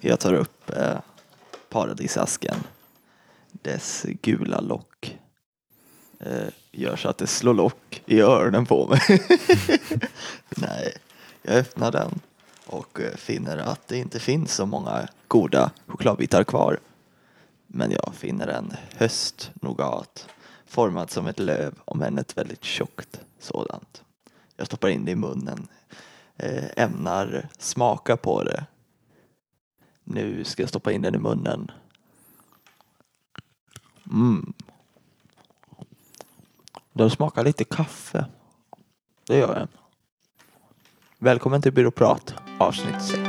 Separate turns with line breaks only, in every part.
Jag tar upp eh, paradisasken. Dess gula lock eh, gör så att det slår lock i öronen på mig. Nej, jag öppnar den och eh, finner att det inte finns så många goda chokladbitar kvar. Men jag finner en höstnogat formad som ett löv, om än ett väldigt tjockt sådant. Jag stoppar in det i munnen, eh, ämnar smaka på det. Nu ska jag stoppa in den i munnen. Mm. Den smakar lite kaffe. Det gör den. Välkommen till Byråprat avsnitt 6.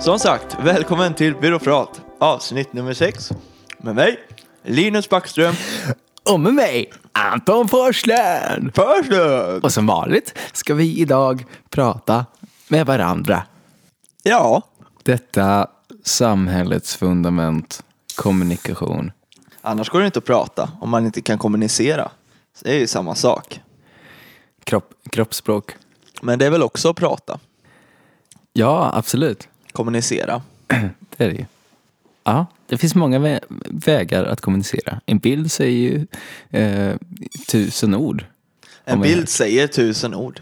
Som sagt, välkommen till Byråprat avsnitt nummer 6. Med mig, Linus Backström.
Och med mig, Anton Forslund!
Förslöv!
Och som vanligt ska vi idag prata med varandra.
Ja,
Detta samhällets fundament, kommunikation.
annars går det inte att prata om man inte kan kommunicera. Så det är ju samma sak.
Kropp, kroppsspråk.
Men det är väl också att prata,
Ja, absolut.
kommunicera.
Det är det ju. Ja, det finns många vä- vägar att kommunicera. En bild säger ju eh, tusen ord.
En
Om jag-
bild säger tusen ord.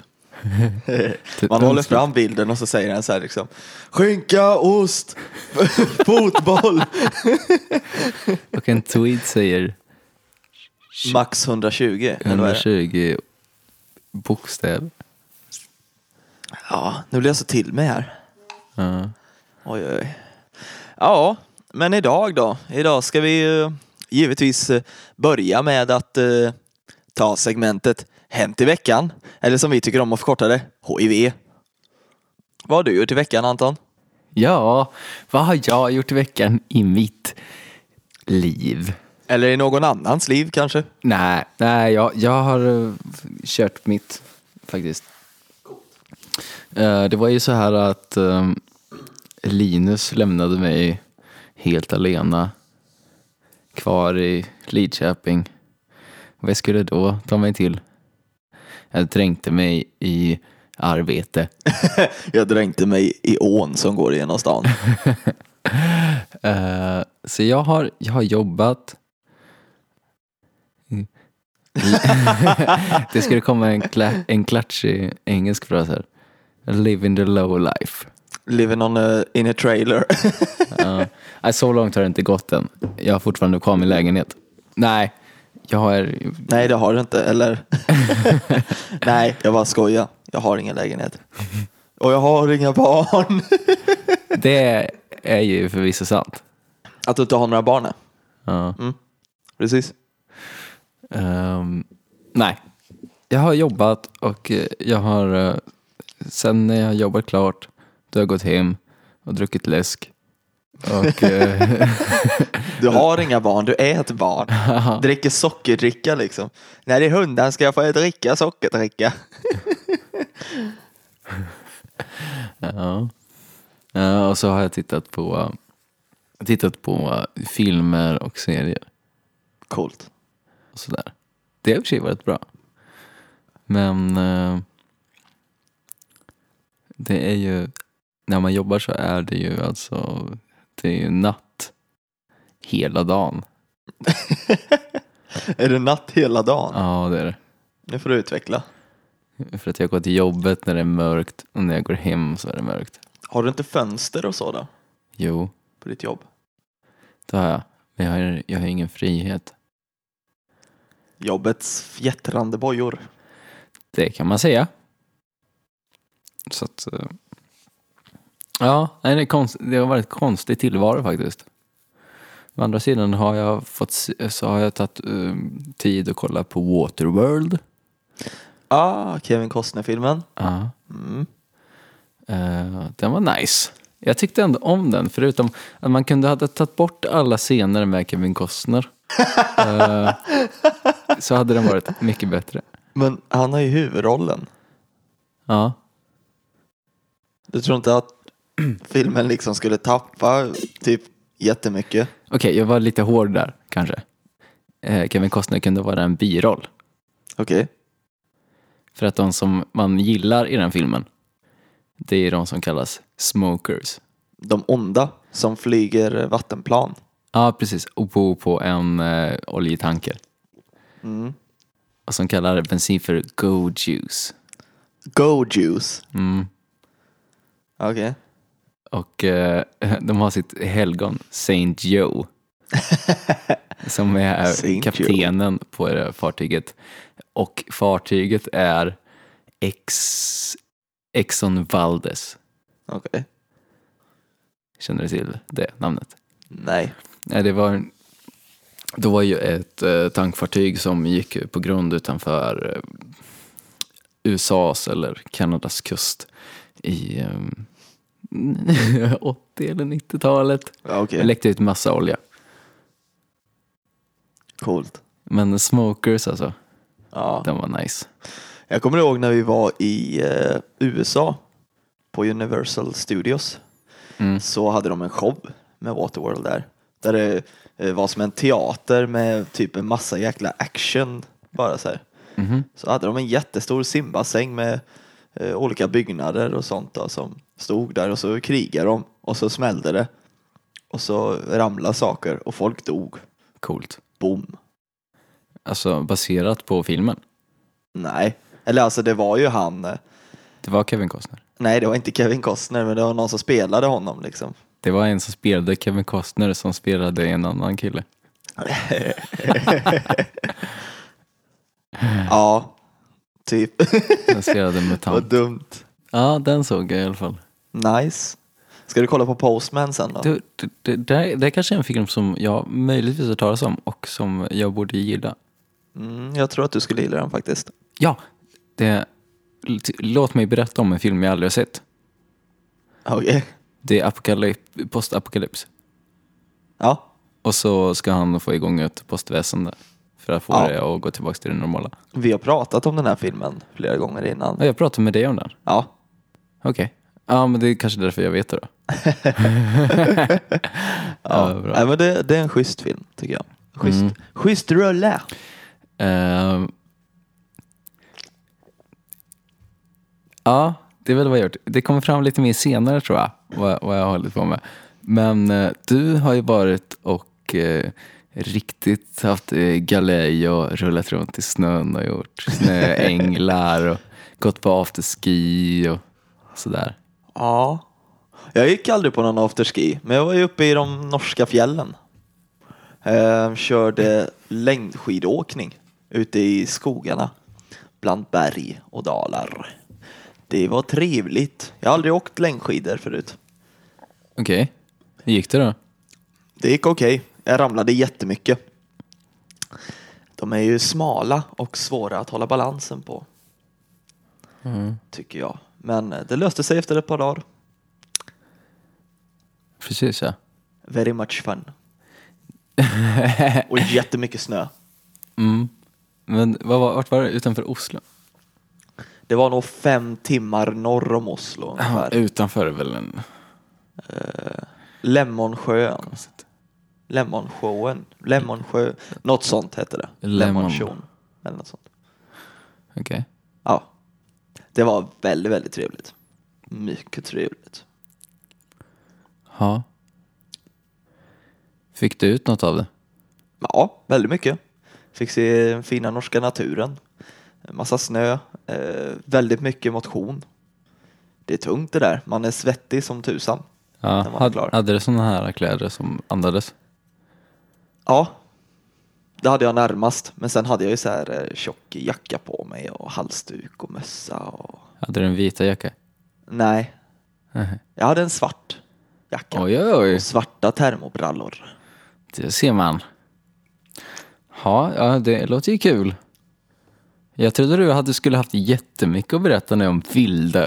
Man håller fram bilden och så säger den så här liksom Skinka, ost, fotboll,
Och en tweet säger
max 120. Eller vad är det?
120 bokstäver.
Ja, nu blir jag så till mig här.
Ja.
Oj, oj, oj. Ja, men idag då? Idag ska vi ju givetvis eh, börja med att eh, ta segmentet Hem till veckan. Eller som vi tycker om att förkorta det, HIV. Vad har du gjort i veckan Anton?
Ja, vad har jag gjort i veckan i mitt liv?
Eller i någon annans liv kanske?
Nej, nej jag, jag har eh, kört mitt faktiskt. Eh, det var ju så här att eh, Linus lämnade mig helt alena kvar i Lidköping. Vad skulle jag då ta mig till? Jag dränkte mig i arbete.
Jag dränkte mig i ån som går genom stan.
Eh, så jag har, jag har jobbat. Mm. det skulle komma en, kla- en klatschig engelsk fras här. Living the low life.
Living on a, eh, in a trailer.
Ja. Nej, så långt har det inte gått än. Jag har fortfarande kvar min lägenhet. Nej, jag har...
Nej, det har du inte, eller? Nej, jag bara skojar. Jag har ingen lägenhet. Och jag har inga barn.
Det är ju förvisso sant.
Att du inte har några barn? nej.
Ja.
Precis.
Ehm, nej. Jag har jobbat och eh, jag har... eh, Sen när jag har jobbat klart, då har jag gått hem och druckit läsk. Och, eh,
Du har inga barn, du är ett barn. Dricker sockerdricka liksom. När det är hundan ska jag få dricka sockerdricka.
ja. Eh, och så har jag tittat på, tittat på filmer och serier
Coolt.
och sådär. Det har i och för sig varit bra. Men eh, det är ju, när man jobbar så är det ju alltså, det är ju natt hela dagen.
Är det natt hela dagen?
Ja, det är det.
Nu får du utveckla.
För att jag går till jobbet när det är mörkt och när jag går hem så är det mörkt.
Har du inte fönster och så då?
Jo,
På ditt jobb?
det har jag. Men jag har, jag har ingen frihet.
Jobbets fjättrande bojor.
Det kan man säga. Så att... eh, Ja, nej, det, är konst, det har varit en konstig tillvaro faktiskt. Å andra sidan har jag, fått, se- så har jag tagit eh, tid att kolla på Waterworld.
Ah, Kevin Costner-filmen.
Ja.
Mm.
Eh, den var nice. Jag tyckte ändå om den, förutom att man kunde ha tagit bort alla scener med Kevin Costner. Eh, så hade den varit mycket bättre.
Men han har ju huvudrollen.
Ja.
Du tror inte att filmen liksom skulle tappa typ jättemycket?
Okej, jag var lite hård där kanske. Eh, Kevin Costner kunde vara en biroll.
Okej.
För att de som man gillar i den filmen, det är de som kallas smokers.
De onda som flyger vattenplan.
Ja, precis. Och bor på en eh, oljetanker.
Mm.
Och som kallar bensin för go juice.
Go juice.
Mm.
Okej.
Och eh, de har sitt helgon, Saint Joe. som är
Saint
kaptenen på det här fartyget. Och fartyget är Ex... Exxon Valdez.
Okej.
Känner du till det namnet?
Nej.
Nej, det var... Det var ju ett eh, tankfartyg som gick på grund utanför eh, USAs eller Kanadas kust i eh, 80 eller 90-talet.
Ja, Okej.
Det läckte ut massa olja.
Coolt.
Men smokers alltså,
Ja.
den var nice.
Jag kommer ihåg när vi var i eh, USA på Universal Studios.
Mm.
Så hade de en show med Waterworld där. Där det eh, var som en teater med typ en massa jäkla action bara så här.
Mhm.
Så hade de en jättestor simbassäng med eh, olika byggnader och sånt då, som stod där och så krigade de och så smällde det. Och så ramlade saker och folk dog.
Coolt.
Boom.
Alltså baserat på filmen.
Nej. Eller alltså det var ju han. eh,
Det var Kevin Costner.
Nej, det var inte Kevin Costner, men det var någon som spelade honom liksom.
Det var en som spelade Kevin Costner som spelade en annan kille.
Ja, typ.
Den spelade
Vad
MUTANT.
dumt.
Ja, den såg jag i alla fall.
Nice. Ska du kolla på Postman sen då?
Det, det, det, där- det kanske är en film som jag möjligtvis har talas om och som jag borde gilla.
Mm, jag tror att du skulle gilla den faktiskt.
Ja, det, l- låt mig berätta om en film jag aldrig har sett.
Okej.
Det är apokalyp, postapokalyps.
Ja,
Och så ska han få igång ett postväsende för att få
Ja.
det att gå tillbaka till det normala.
vi har pratat om den här filmen flera gånger innan.
Ja, jag pratade med dig om den.
Ja,
Okej. Ja, men det är kanske därför jag vet det då.
ja.
Ja, bra.
Nej, men det, det är en schysst film tycker jag. Schysst,
Mm.
schysst rulle.
Ehm. ja, det är väl vad jag gjort. Det kommer fram lite mer senare tror jag, vad, vad jag har hållit på med. Men eh, du har ju varit och eh, riktigt haft eh, galej och rullat runt i snön och gjort snöänglar och gått på afterski och sådär.
Ja. Jag gick aldrig på någon afterski, men jag var ju uppe i de norska fjällen. Ehm, körde längdskidåkning ute i skogarna bland berg och dalar. Det var trevligt. Jag har aldrig åkt längdskidor förut.
Okej, hur gick det då?
Det gick okej. Jag ramlade jättemycket. De är ju smala och svåra att hålla balansen på, tycker jag. Men eh, det löste sig efter ett par dagar.
Precis ja.
Very much fun. och jättemycket snö.
Mm. Men vad var, vart var det? Utanför Oslo?
Det var nog fem timmar norr om Oslo ungefär.
Utanför är väl en...
Lemmonsjön. Lemmonsjön. Lemmonsjö. Något sånt hette det.
Lemmon.
Lemmonsjön. Eller något sånt.
Okej.
Ja. Det var väldigt, väldigt trevligt. Mycket trevligt.
Ja. Fick du ut något av det?
Ja, väldigt mycket. Fick se den fina norska naturen. En massa snö. Eh, väldigt mycket motion. Det är tungt det där. Man är svettig som tusan.
Ja.
Den var
Hade,
klar.
hade du sådana här kläder som andades?
Ja, det hade jag närmast. Men sen hade jag ju så här eh, tjock jacka på mig och halsduk och mössa och...
Hade du en vita jacka?
Nej,
Nej.
jag hade en svart jacka.
Oj, oj, oj.
Och svarta termobrallor.
Det ser man. Ja, ja, det låter ju kul. Jag trodde du hade skulle haft jättemycket att berätta nu om vilda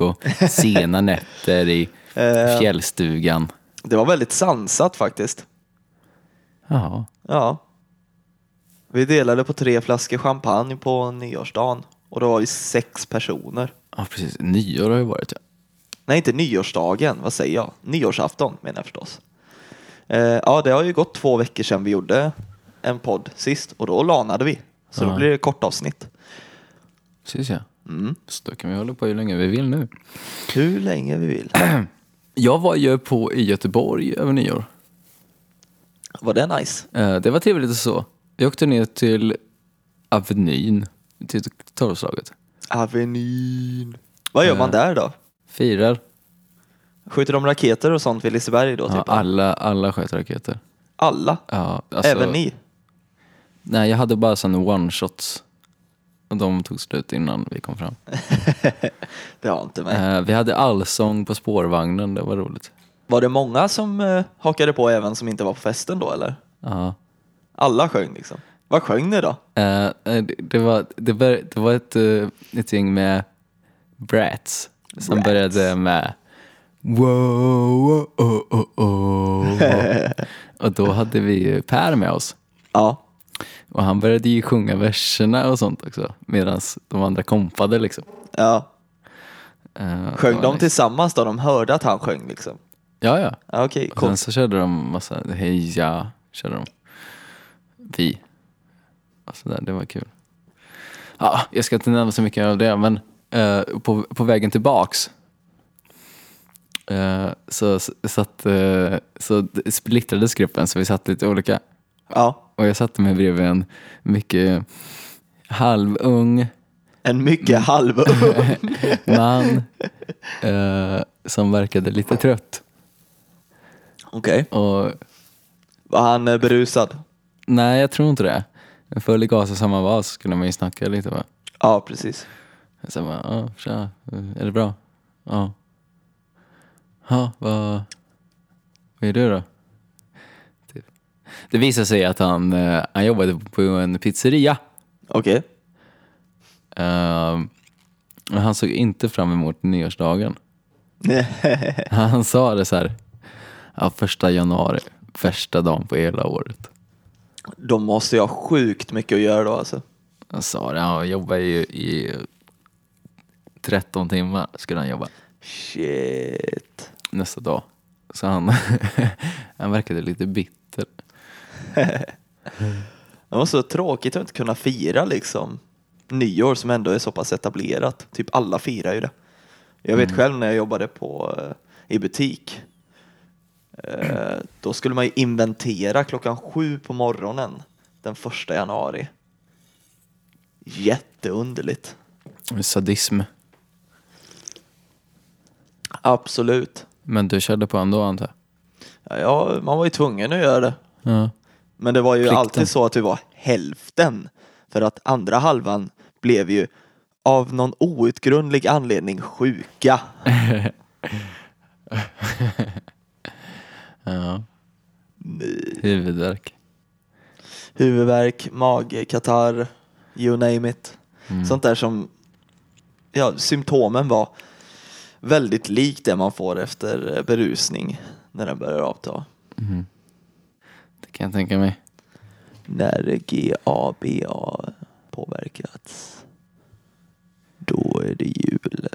och sena nätter i
Eh.
fjällstugan.
Det var väldigt sansat faktiskt.
Ja,
Ja. Vi delade på tre flaskor champagne på nyårsdagen och då var vi sex personer.
ja precis. Nyår har ju varit ja.
Nej, inte nyårsdagen. Vad säger jag? Nyårsafton menar jag förstås. Eh, ja, det har ju gått två veckor sedan vi gjorde en podd sist och då lanade vi. Så då
Ja.
blir det kort avsnitt.
Precis ja.
Mm.
Så då kan vi hålla på hur länge vi vill nu.
Hur länge vi vill.
Jag var ju på i Göteborg över nyår.
Var det nice?
Eh, Det var trevligt och så. Jag åkte ner till Avenyn, till tolvslaget.
Avenyn. Vad gör
Eh.
man där då?
Firar.
Skjuter de raketer och sånt vid Liseberg då?
Ja,
Typ?
alla, alla sköt raketer.
Alla?
Ja, alltså-
Även ni?
Nej, jag hade bara sådana one-shots. Och de tog slut innan vi kom fram.
Det har inte med.
Eh, vi hade allsång på spårvagnen, det var roligt.
Var det många som eh, hakade på även som inte var på festen då eller?
Ja.
Alla sjöng liksom. Vad sjöng ni då?
Eh, eh, det, det, var, det, bör, det var ett, eh, ett gäng med brats som
Brats.
började med wow, oh, oh, oh, oh. Och då hade vi ju Per med oss.
Ja,
Och han började ju sjunga verserna och sånt också. Medan de andra kompade liksom.
ja.
Eh, det
Sjöng
var
de
nice.
tillsammans då? De hörde att han sjöng liksom?
Ja, ja.
Ja, Okej,
Och
coolt.
sen så körde de massa heja, körde de. Vi. Och så där, det var kul. Ja, jag ska inte nämna så mycket av det, men eh, på, på vägen tillbaks eh, så, så, satt, eh, så splittrades gruppen, så vi satt lite olika.
Ja.
Och jag satte mig bredvid en mycket halvung
En
Mm.
mycket halv...
man eh, som verkade lite trött.
Okej.
Och
Var han eh, berusad?
Nej, jag tror inte det. Men Full i gas och samma vas skulle man ju snacka lite va.
Ja, precis.
Sen bara, ja, tja, är det bra? Ja. Ja, vad... Vad är du då? Typ. Det visade sig att han, eh, han jobbade på en pizzeria.
Okej.
Ehm, Men han såg inte fram emot nyårsdagen. Han sa det så här, ja, första januari, första dagen på hela året.
De måste ju ha sjukt mycket att göra då alltså.
Han sa det, han jobbar ju i 13 timmar skulle han jobba
Shit.
nästa dag. Så han, han verkade lite bitter.
Det var så tråkigt att inte kunna fira liksom nyår som ändå är så pass etablerat. Typ alla firar ju det. Jag vet själv när jag jobbade på, eh, i butik. Eh, Då skulle man ju inventera klockan sju på morgonen den första januari. Jätteunderligt.
Sadism.
Absolut.
Men du körde på ändå antar
Ja,
jag?
Ja, man var ju tvungen att göra det.
Ja.
Men det var ju
Plikten.
alltid så att vi var hälften. För att andra halvan blev ju av någon outgrundlig anledning sjuka.
ja. Huvudvärk.
Huvudvärk, magkatarr, you name it. Sånt där som, ja, symptomen var väldigt likt det man får efter eh, berusning när den börjar avta.
Det kan jag tänka mig.
När GABA påverkats, då är det jul.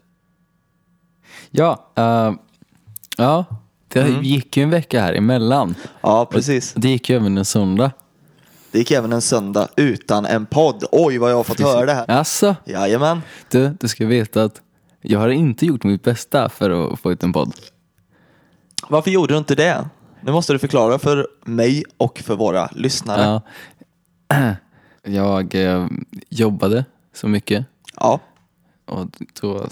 Ja, eh, ja. det gick ju en vecka här emellan.
Ja, precis.
Det gick ju även en söndag.
Det gick även en söndag utan en podd. Oj, vad jag har fått höra det här.
Alltså,
Jajamän.
du, du ska veta att jag har inte gjort mitt bästa för att få ut en podd.
Varför gjorde du inte det? Nu måste du förklara för mig och för våra lyssnare. Ja.
Ja. Jag eh, jobbade så mycket och då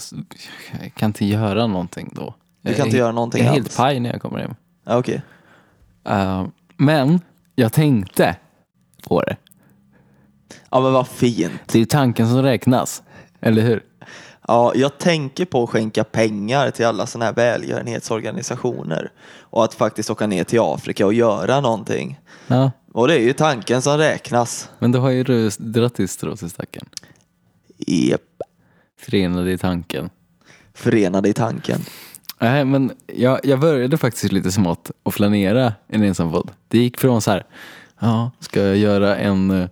jag kan inte göra någonting då.
Du kan inte göra någonting
Jag är
alls.
helt paj när jag kommer hem.
Ja, okej.
Eh, men jag tänkte på det.
Ja, men vad fint.
Det är ju tanken som räknas, eller hur?
Ja, jag tänker på att skänka pengar till alla sådana här välgörenhetsorganisationer och att faktiskt åka ner till Afrika och göra någonting.
Ja,
Och det är ju tanken som räknas.
men då har ju du dragit ditt strå till stacken.
Jep.
Förenade i tanken.
Förenade i tanken.
Nej, men jag, jag började faktiskt lite smått att flanera en ensam podd. Det gick från så här, ja, ska jag göra en, eh,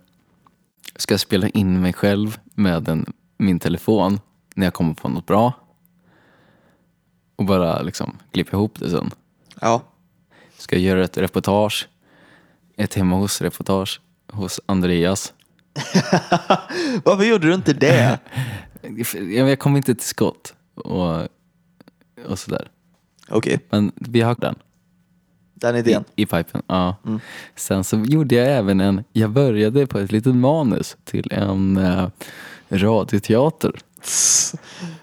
ska jag spela in mig själv med en, min telefon när jag kommer på något bra? Och bara liksom klippa ihop det sen.
Ja.
Ska jag göra ett reportage, ett hemma hos-reportage hos Andreas.
Varför gjorde du inte det?
Jag, jag kom inte till skott och, och sådär.
Okej,
Men vi har den.
den idén.
I, i pipen, ja.
Mm.
Sen så gjorde jag även en, jag började på ett litet manus till en eh, radioteater.
Tss.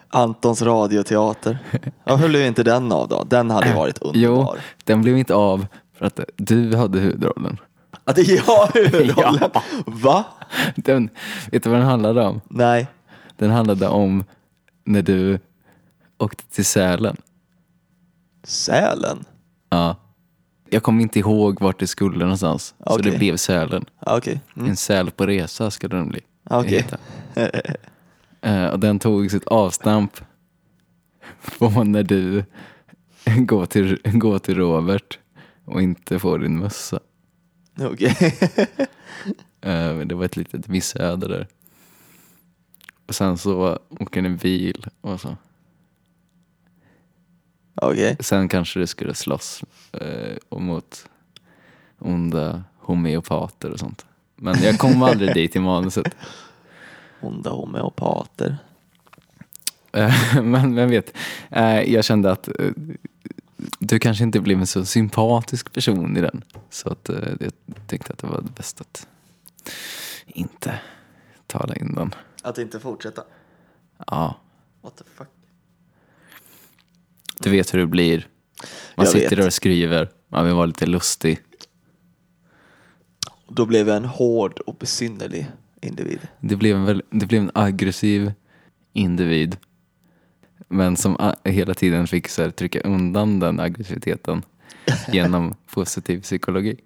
Antons radioteater. Jag höll ju inte den av då. Den hade ju varit
Äh, Jo,
underbar.
den blev inte av för att du hade huvudrollen.
Att det är jag huvudrollen?
Ja.
Va?
Den, vet du vad den handlade om?
Nej.
Den handlade om när du åkte till Sälen.
Sälen?
Ja. Jag kommer inte ihåg vart det skulle någonstans, så
Okej.
det blev Sälen.
Ja, Okej. Mm,
En säl på resa ska den bli.
Okej.
heta. Eh, och den tog sitt avstamp från när du går till, går till Robert och inte får din mössa.
Mm. Okej.
Eh, det var ett litet missöde där. Och sen så åker ni bil och så.
Okej.
Sen kanske du skulle slåss eh, mot onda homeopater och sånt. Men jag kom aldrig dit i manuset.
Onda homeopater.
Eh, Men vem vet, Eh, jag kände att eh, du kanske inte blev en så sympatisk person i den. Så att eh, jag tyckte att det var bäst att inte tala in den.
Att inte fortsätta.
Ja,
What the fuck?
du vet hur det blir. Man
Jag
sitter
vet.
och skriver, man vill vara lite lustig.
Då blev jag en hård och besynnerlig individ.
Det blev en, väl, det blev en aggressiv individ. Men som a- hela tiden fick så här, trycka undan den aggressiviteten genom positiv psykologi.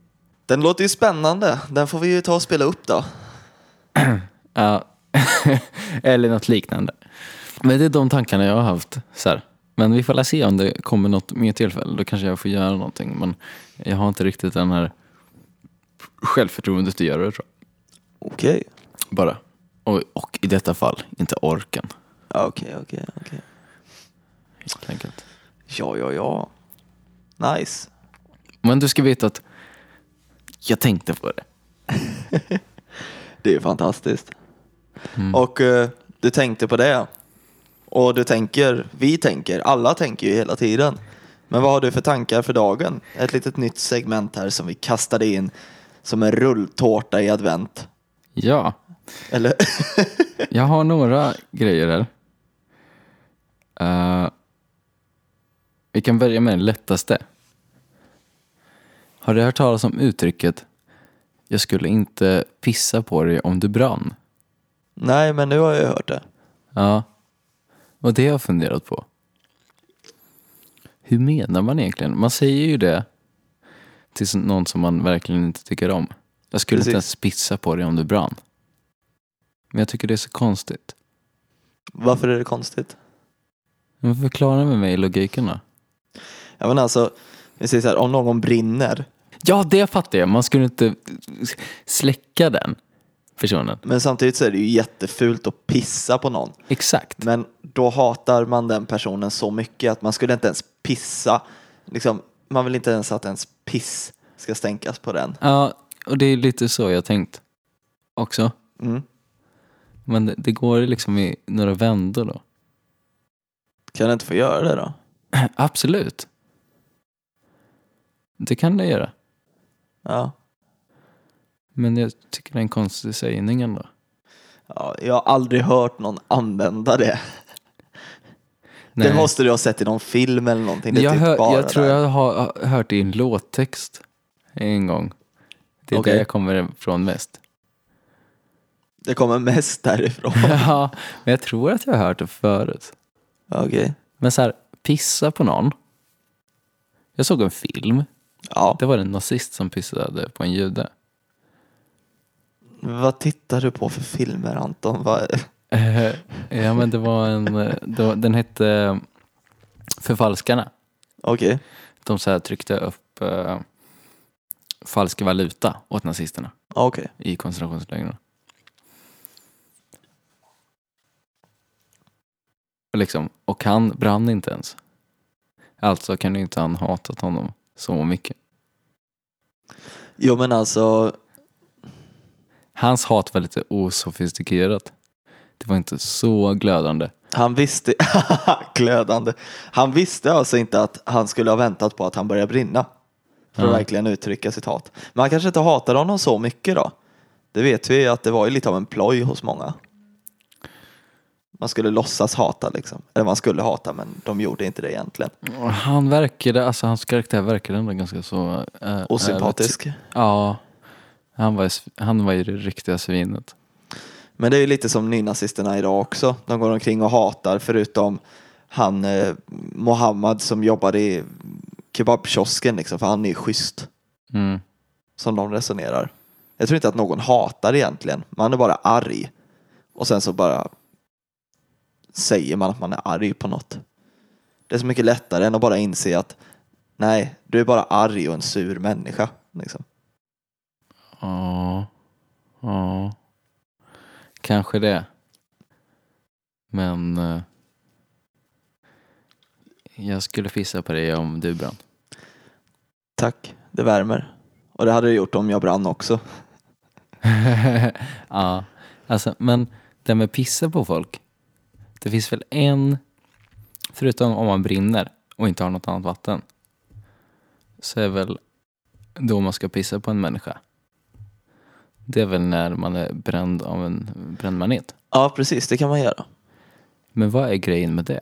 Den låter ju spännande. Den får vi ju ta och spela upp då.
Ja, eller något liknande. Men det är de tankarna jag har haft. Så här. Men vi får la se om det kommer något mer tillfälle. Då kanske jag får göra någonting. Men jag har inte riktigt den här självförtroendet att göra det tror
Okej.
jag. Bara. Och, och i detta fall inte orken.
Ja, Okej, okej, okej.
Helt enkelt.
Ja, ja, ja. Nice.
Men du ska veta att jag tänkte på det.
Det är fantastiskt. Och eh, du tänkte på det. Och du tänker, vi tänker, alla tänker ju hela tiden. Men vad har du för tankar för dagen? Ett litet nytt segment här som vi kastade in som en rulltårta i advent.
Ja,
Eller?
jag har några grejer här. Eh, vi kan börja med den lättaste. Har du hört talas om uttrycket Jag skulle inte pissa på dig om du brann?
Nej, men nu har jag ju hört det.
Ja, och det har jag funderat på. Hur menar man egentligen? Man säger ju det till s- någon som man verkligen inte tycker om. Jag skulle
Precis.
inte ens pissa på dig om du brann. Men jag tycker det är så konstigt.
Varför är det konstigt?
Men förklara med mig logiken då.
Ja, men alltså, vi säger så här, om någon brinner.
Ja, det fattar jag. Man skulle inte släcka den personen.
Men samtidigt så är det ju jättefult att pissa på någon.
Exakt.
Men då hatar man den personen så mycket att man skulle inte ens pissa. Liksom, man vill inte ens att ens piss ska stänkas på den.
Ja, och det är lite så jag tänkt också.
Mm.
Men det, det går liksom i några vändor då.
Kan du inte få göra det då?
Absolut. Det kan det göra.
Ja.
Men jag tycker det är en konstig sägning ändå.
ja. Jag har aldrig hört någon använda det. Det måste du ha sett i någon film eller någonting. Det är
jag,
typ
hör,
bara
jag tror
där.
jag har hört det i en låttext en gång. Det är
Okej.
där jag kommer ifrån mest.
Det kommer mest därifrån.
ja, men jag tror att jag har hört det förut.
Okej.
Men så här, pissa på någon. Jag såg en film.
Ja.
Det var en nazist som pissade på en jude.
Vad tittar du på för filmer Anton? Vad...
Eh, ja, men det var en, eh, det var, den hette eh, Förfalskarna.
Okej.
De så här tryckte upp eh, falsk valuta åt nazisterna
Ja, Okej.
i koncentrationslägren. Och Liksom, och han brann inte ens. Alltså kan ju inte han hatat honom så mycket.
Jo men alltså,
Hans hat var lite osofistikerat. Det var inte så glödande.
han visste, glödande, han visste alltså inte att han skulle ha väntat på att han började brinna. För att
Ja.
verkligen uttrycka sitt hat. Men han kanske inte hatade honom så mycket då. Det vet vi ju att det var ju lite av en ploj hos många. Man skulle låtsas hata liksom. Eller man skulle hata men de gjorde inte det egentligen.
Och Han verkade, alltså hans karaktär verkade ändå ganska så... eh,
Osympatisk.
eh, ja. Han var, ju- han var ju det riktiga svinet.
Men det är ju lite som nynazisterna idag också. De går omkring och hatar förutom han eh, Mohammed som jobbade i kebabkiosken liksom, för han är ju schysst
Mm.
som de resonerar. Jag tror inte att någon hatar egentligen. Man är bara arg. Och sen så bara säger man att man är arg på något. Det är så mycket lättare än att bara inse att nej, du är bara arg och en sur människa. Liksom.
Ja. Ja. Kanske det. Men eh, jag skulle fissa på dig om du brann.
Tack, det värmer. Och det hade det gjort om jag brann också.
ja, alltså, men det med pissa på folk. Det finns väl en, förutom om man brinner och inte har något annat vatten, så är väl då man ska pissa på en människa. Det är väl när man är bränd av en bränd manet.
Ja, precis, det kan man göra.
Men vad är grejen med det?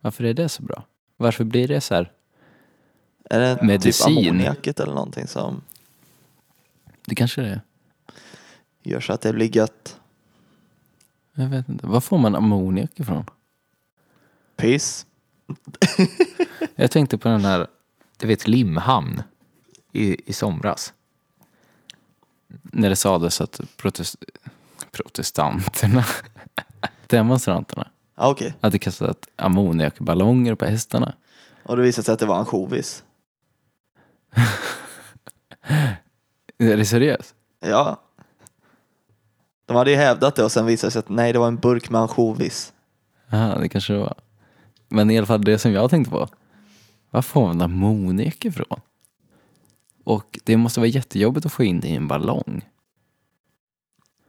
Varför är det så bra? Varför blir det så här?
Är det
Medicin.
typ ammoniaket eller någonting som
Det kanske det är.
gör så att det blir gött?
Jag vet inte. Var får man ammoniak ifrån?
Piss.
Jag tänkte på den här
Du vet Limhamn i, i somras.
när det sades att protest, protestanterna, demonstranterna,
Ja, okej.
hade kastat ammoniakballonger på hästarna.
Och det visade sig att det var ansjovis.
Är det seriöst?
Ja. De hade ju hävdat det och sen visade det sig att nej, det var en burk med ansjovis.
Aha, det kanske det var. Men i alla fall det som jag tänkte på. Var får man ammoniak ifrån? Och det måste vara jättejobbigt att få in det i en ballong.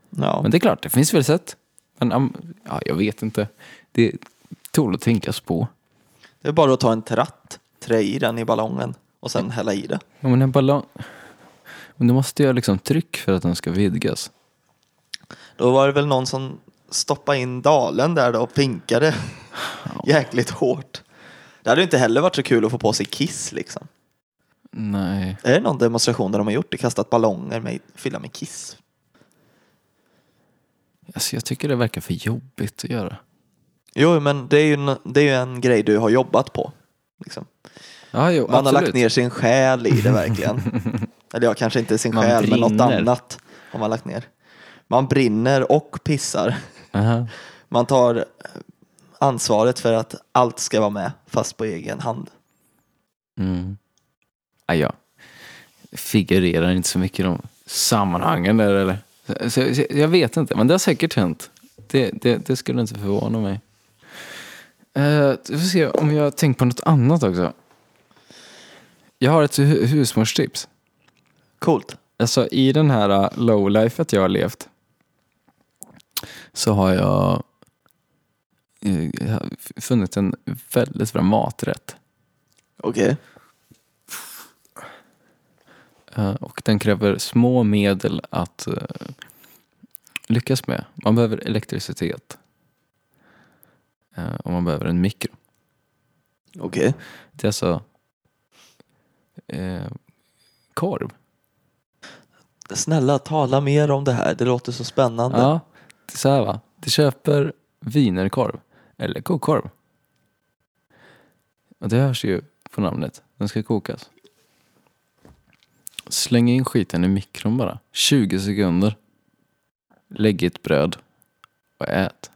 Ja.
Men det är klart, det finns väl sätt. Men am- ja, jag vet inte. Det tål att tänkas på.
Det är bara att ta en tratt, trä i den i ballongen och sen hälla i det.
Ja, men en ballong... Men du måste göra liksom tryck för att den ska vidgas.
Då var det väl någon som stoppade in dalen där då och pinkade jäkligt hårt. Det hade ju inte heller varit så kul att få på sig kiss liksom.
Nej.
Är det någon demonstration där de har gjort det? Kastat ballonger med, fyllda med kiss?
Alltså, jag tycker det verkar för jobbigt att göra.
Jo, men det är ju, en- det är ju en grej du har jobbat på. Liksom.
Ja, jo,
Man har lagt ner sin själ i det verkligen. Eller ja, kanske inte sin
Man
själ, men något
brinner.
annat har man lagt ner. Man brinner och pissar.
Aha.
Man tar eh, ansvaret för att allt ska vara med, fast på egen hand.
Mm. Ja, jag figurerar inte så mycket i de sammanhangen där. Eller? Så, så, så, jag vet inte, men det har säkert hänt. Det, det, det skulle inte förvåna mig. Uh, vi får se om jag har tänkt på något annat också. Jag har ett hu- husmorstips.
Coolt.
Alltså i den här uh, lowlifet jag har levt så har jag eh, jag har f- funnit en väldigt bra maträtt.
Okej.
Eh, Och den kräver små medel att eh, lyckas med. Man behöver elektricitet. Eh, Och man behöver en mikro.
Okej.
Det är alltså eh, korv.
Snälla, tala mer om det här. Det låter så spännande.
Ja, det är så här va. Du köper wienerkorv eller kokkorv. Och det hörs ju på namnet. Den ska kokas. Släng in skiten i mikron bara. 20 sekunder. Lägg i ett bröd och ät.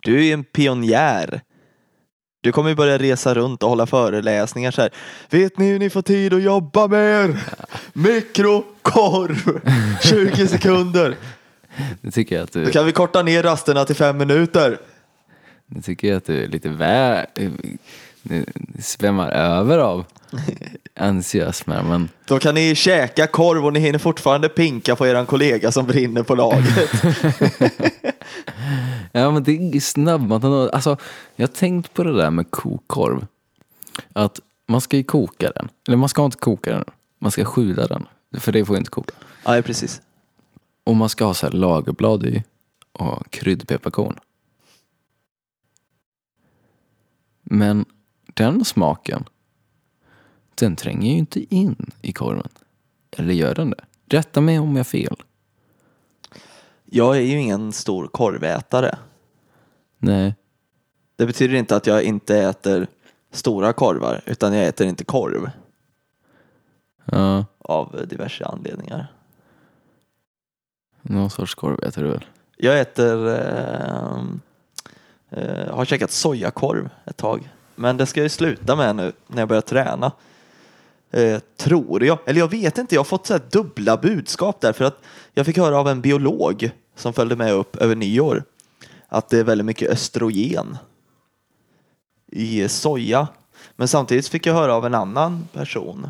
Du är ju en pionjär. Du kommer ju börja resa runt och hålla föreläsningar så här. Vet ni hur ni får tid att jobba med er? Mikrokorv! 20 sekunder!
Nu tycker jag att
Då
du,
kan vi korta ner rasterna till fem minuter.
nu tycker jag att du är lite väl... Nu svämmar över av entusiasm här, men
Då kan ni käka korv och ni hinner fortfarande pinka på eran kollega som brinner på laget.
Ja men det är snabbmaten. och- Alltså, jag har tänkt på det där med kokorv. Att man ska ju koka den. Eller man ska inte koka den. Man ska skjula den. För det får ju inte koka.
Ja, precis.
Och man ska ha så här lagerblad i. Och kryddpepparkorn. Men den smaken. Den tränger ju inte in i korven. Eller gör den det? Rätta mig om jag har fel.
Jag är ju ingen stor korvätare.
Nej.
Det betyder inte att jag inte äter stora korvar, utan jag äter inte korv
Ja,
av diverse anledningar.
någon sorts korv äter du väl?
Jag äter, eh, eh, har käkat sojakorv ett tag. Men det ska jag ju sluta med nu när jag börjar träna. Eh, tror jag. Eller jag vet inte, jag har fått så här dubbla budskap där. För att jag fick höra av en biolog som följde med upp över nyår att det är väldigt mycket östrogen i soja. Men samtidigt fick jag höra av en annan person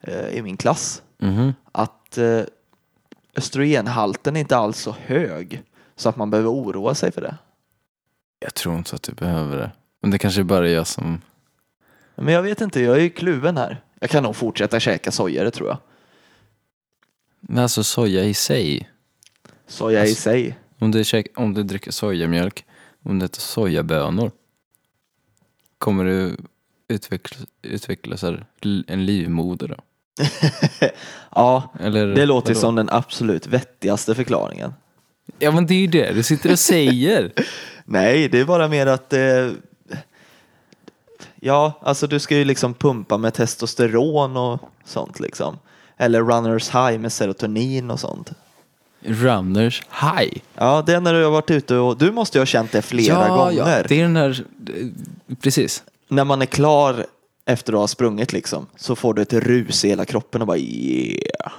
eh, i min klass
Mhm.
att eh, östrogenhalten är inte alls så hög så att man behöver oroa sig för det.
Jag tror inte att du behöver det. Men det kanske bara är jag som...
Men jag vet inte, jag är ju kluven här. Jag kan nog fortsätta käka soja, det tror jag.
Men alltså soja i sig.
Soja i
Alltså-
sig.
Om du, käk, om du dricker sojamjölk, om du äter sojabönor. Kommer du utveckla, utveckla så här, l- en livmoder då?
Ja,
Eller,
det låter
Mm, vadå?
som den absolut vettigaste förklaringen.
Ja men det är ju det du sitter och säger.
Nej, det är bara mer att eh, ja, alltså du ska ju liksom pumpa med testosteron och sånt liksom. Eller runners high med serotonin och sånt.
Runners high.
Ja, det är när du har varit ute och du måste ju ha känt det flera
ja,
gånger.
Ja, det är den här... eh, Precis.
när man är klar efter att ha sprungit liksom, så får du ett rus i hela kroppen och bara yeah.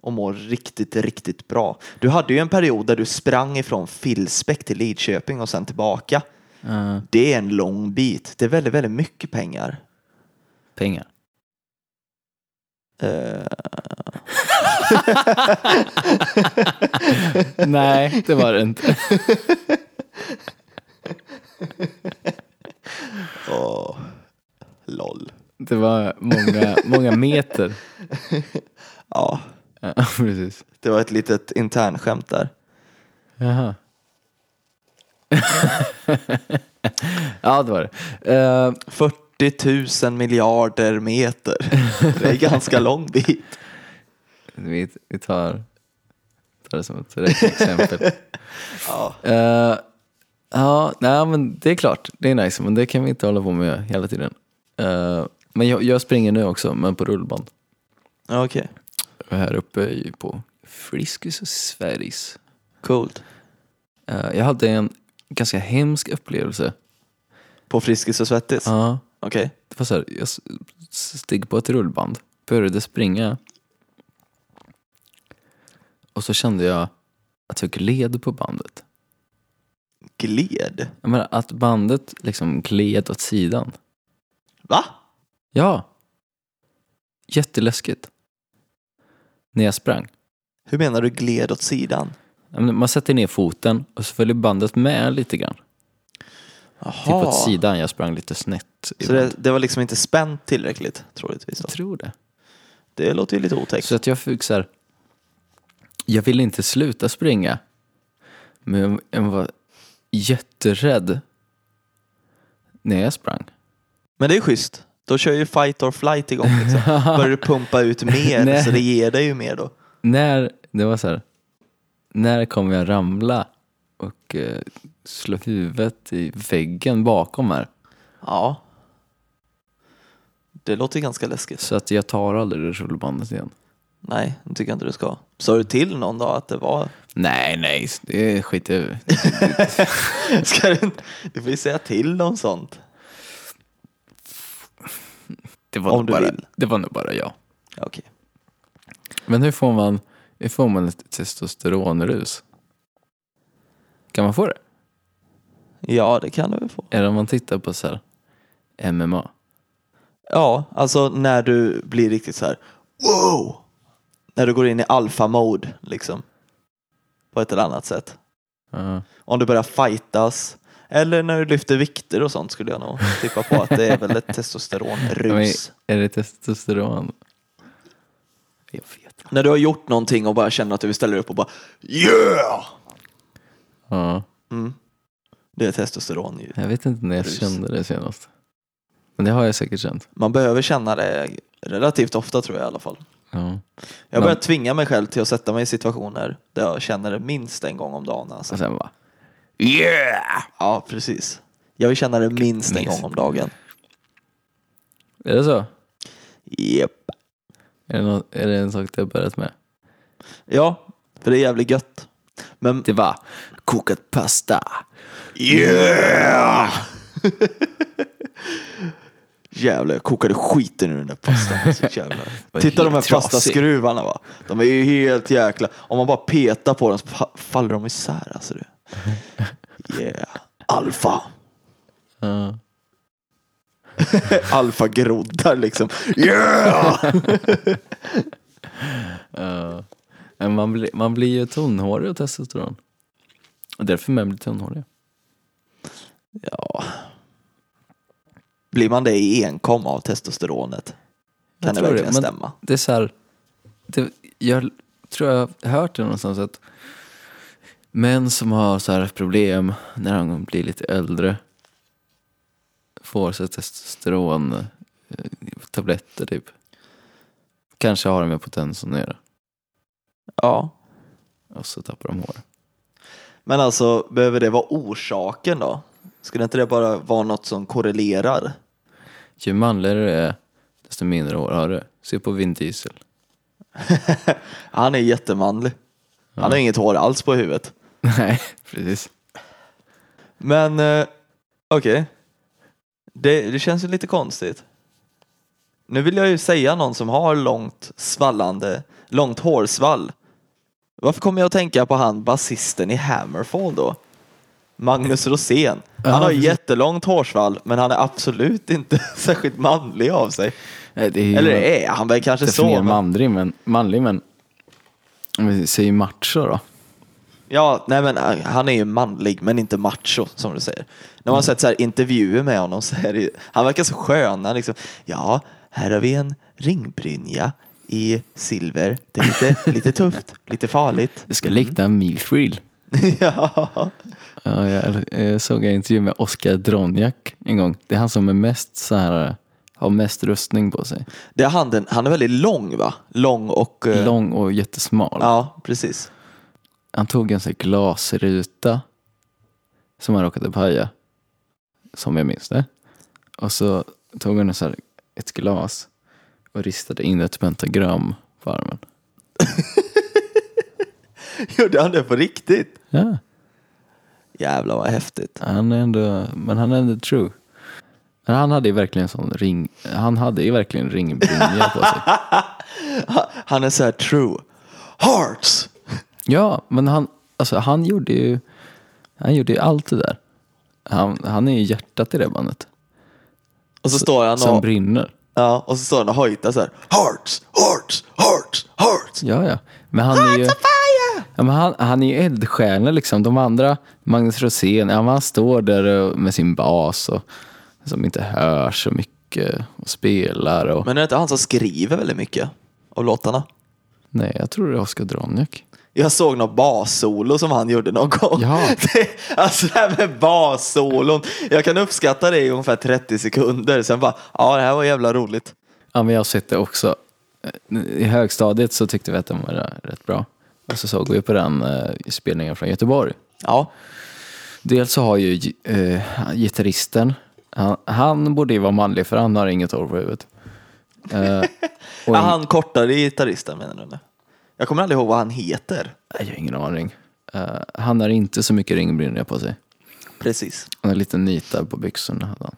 Och mår riktigt, riktigt bra. Du hade ju en period där du sprang ifrån Filsbäck till Lidköping och sen tillbaka.
Eh,
Det är en lång bit. Det är väldigt, väldigt mycket pengar.
pengar.
Eh,
Nej, det var det inte.
åh, LOL.
Det var många, många meter.
Ja,
Ja, precis.
det var ett litet internskämt där.
Jaha. ja, det var det. Eh,
40 000 miljarder meter. Det är en ganska lång bit.
vi, vi tar, tar det som ett räkneexempel.
Ja.
Eh, ja, nej, men det är klart. Det är nice, men det kan vi inte hålla på med hela tiden. Eh, men jag, jag springer nu också, men på rullband.
Okej,
Här uppe i- på Friskis och Sveriges.
coolt.
Eh, jag hade en ganska hemsk upplevelse.
På Friskis och Svettis?
Ja.
Okej.
Det var så här, jag s- steg på ett rullband, började springa. Och så kände jag att jag gled på bandet.
Gled?
Jag menar att bandet liksom gled åt sidan.
Va?
Ja! Jätteläskigt. När jag sprang.
Hur menar du gled åt sidan?
Jag menar, Man sätter ner foten och så följer bandet med lite grann. Typ åt sidan, jag sprang lite snett.
Så
ibland.
det, det var liksom inte spänt tillräckligt troligtvis? Då.
Jag tror det.
Det låter ju lite otäckt.
Så att jag fick så här, jag ville inte sluta springa. Men jag var jätterädd när jag sprang.
Men det är schysst. Då kör ju fight or flight igång. Liksom. Börjar du pumpa ut mer
Nej.
så det ger dig ju mer då.
När, det var så här, när kommer jag ramla och eh, slå huvudet i väggen bakom här?
Ja. Det låter ganska läskigt.
Så att jag tar aldrig det rullbandet igen.
Nej, det tycker jag inte du ska. Sa du till någon dag att det var...
Nej, nej, det skiter jag i.
Ska du, inte- du får ju säga till om sånt.
det var
Om
nog
du
bara,
vill.
Det var nog bara jag.
Ja, Okej.
Men hur får man, hur får man ett testosteronrus? Kan man få det?
Ja, det kan du väl få.
Eller om man tittar på så här MMA?
Ja, alltså när du blir riktigt så här wow! När du går in i alfa-mode liksom. På ett eller annat sätt.
Ja.
Om du börjar fightas. Eller när du lyfter vikter och sånt skulle jag nog tippa på att det är väl ett testosteronrus.
Är det testosteron? Jag vet inte.
När du har gjort någonting och bara känner att du vill ställa dig upp och bara yeah!
Ja,
Mm. Det är testosteron ju.
jag vet inte när jag
Rus.
kände det senast. Men det har jag säkert känt.
Man behöver känna det relativt ofta tror jag i alla fall.
Ja.
Jag börjar
Men-
tvinga mig själv till att sätta mig i situationer där jag känner det minst en gång om dagen. Alltså.
Och sen bara,
Ja, precis. Jag vill känna det minst en
Minst.
gång om dagen.
är det så?
Yep.
Är det, nå- är det en sak du har börjat med?
Ja, för det är jävligt gött. Men
Det var kokat pasta.
yeah! Jävlar, jag kokade skiten ur den där pastan. Alltså, jävlar.
var
Titta de här
helt trasig.
pastaskruvarna va. De är ju helt jäkla... Om man bara petar på dem så fa- faller de isär alltså. Du. Yeah. Alfa.
Ja.
Alfagroddar liksom. Yeah!
Ja. Men man, blir, man blir ju tunnhårig av testosteron. Och därför män blir tunnhåriga.
Ja. Blir man det i enkom av testosteronet?
Jag
Kan det
tror
verkligen
men
stämma?
Det är så här, det, jag tror jag har hört det någonstans att män som har så här problem när de blir lite äldre får så här testosteron eh, tabletter typ. Kanske har de med potensen att göra.
Ja.
Och så tappar de hår.
Men alltså, behöver det vara orsaken då? Skulle inte det bara vara något som korrelerar?
Ju manligare du är, desto mindre hår har du. Se på Vin Diesel.
Han är jättemanlig. Han har inget hår alls på huvudet.
Nej, precis.
Men, eh, okej. Det, det känns ju lite konstigt. Nu vill jag ju säga någon som har långt svallande, långt hårsvall. Varför kommer jag att tänka på han basisten i Hammerfall då? Magnus Rosén. Han har
precis.
jättelångt hårsvall, men han är absolut inte särskilt manlig av sig.
Nej, det är ju
Eller är han väl kanske så?
definierar
Men,
manlig, men, manlig, men om vi säger macho då.
ja, nej men eh, han är ju manlig men inte macho som du säger. När man har sett så här intervjuer med honom så är det ju, han verkar så skön. Han liksom, ja, här har vi en ringbrynja i silver. Det är lite, lite tufft, lite farligt.
Det ska likna en milfreel.
ja.
Ja, jag, jag såg en intervju med Oskar Dronjak en gång. Det är han som är mest så här, eh, har mest rustning på sig.
Det är han, den, han är väldigt lång va? Lång och... eh,
Lång och jättesmal.
Ja, precis.
Han tog en sån här glasruta som han råkade paja, som jag minns det. Och så tog han en så här, ett glas och ristade in ett pentagram på armen.
Gjorde han det på riktigt?
Ja,
Jävlar vad häftigt.
han är ändå, men han är ändå true. Men han hade ju verkligen sån ring, han hade ju verkligen ringbrynja på sig.
Han är så här true. Hearts!
Ja, men han, alltså han gjorde ju, han gjorde ju allt det där. Han, han är ju hjärtat i det bandet.
Och så står han
Som
och
brinner.
Ja, och så står han och hojtar så här. Hearts, hearts, hearts, hearts.
Ja, ja. Men han
Ah,
är ju... Ja, men han, han är ju eldsjälen liksom. De andra, Magnus Rosén, ja, men han står där och- med sin bas och som inte hör så mycket och spelar. Och,
Men är det inte han som skriver väldigt mycket av låtarna?
Nej, jag tror det är Oskar Dronjak.
Jag såg något bassolo som han gjorde någon gång.
Ja.
Det, alltså det här med bassolon. Jag kan uppskatta det i ungefär 30 sekunder. Sen bara, ja det här var jävla roligt.
Ja, men jag har sett det också. eh, I högstadiet så tyckte vi att de var rätt bra. Och så såg vi på den eh, spelningen från Göteborg.
Ja,
Dels så har ju eh, gitarristen, han, han borde ju vara manlig för han har inget hår på huvudet. Eh, och
Ja,
en,
han kortare gitarristen menar du nu? Jag kommer aldrig ihåg vad han heter.
Nej, jag har ingen aning. Eh, han har inte så mycket ringbrynja på sig.
Precis.
Han har lite nitar på byxorna. Hade han.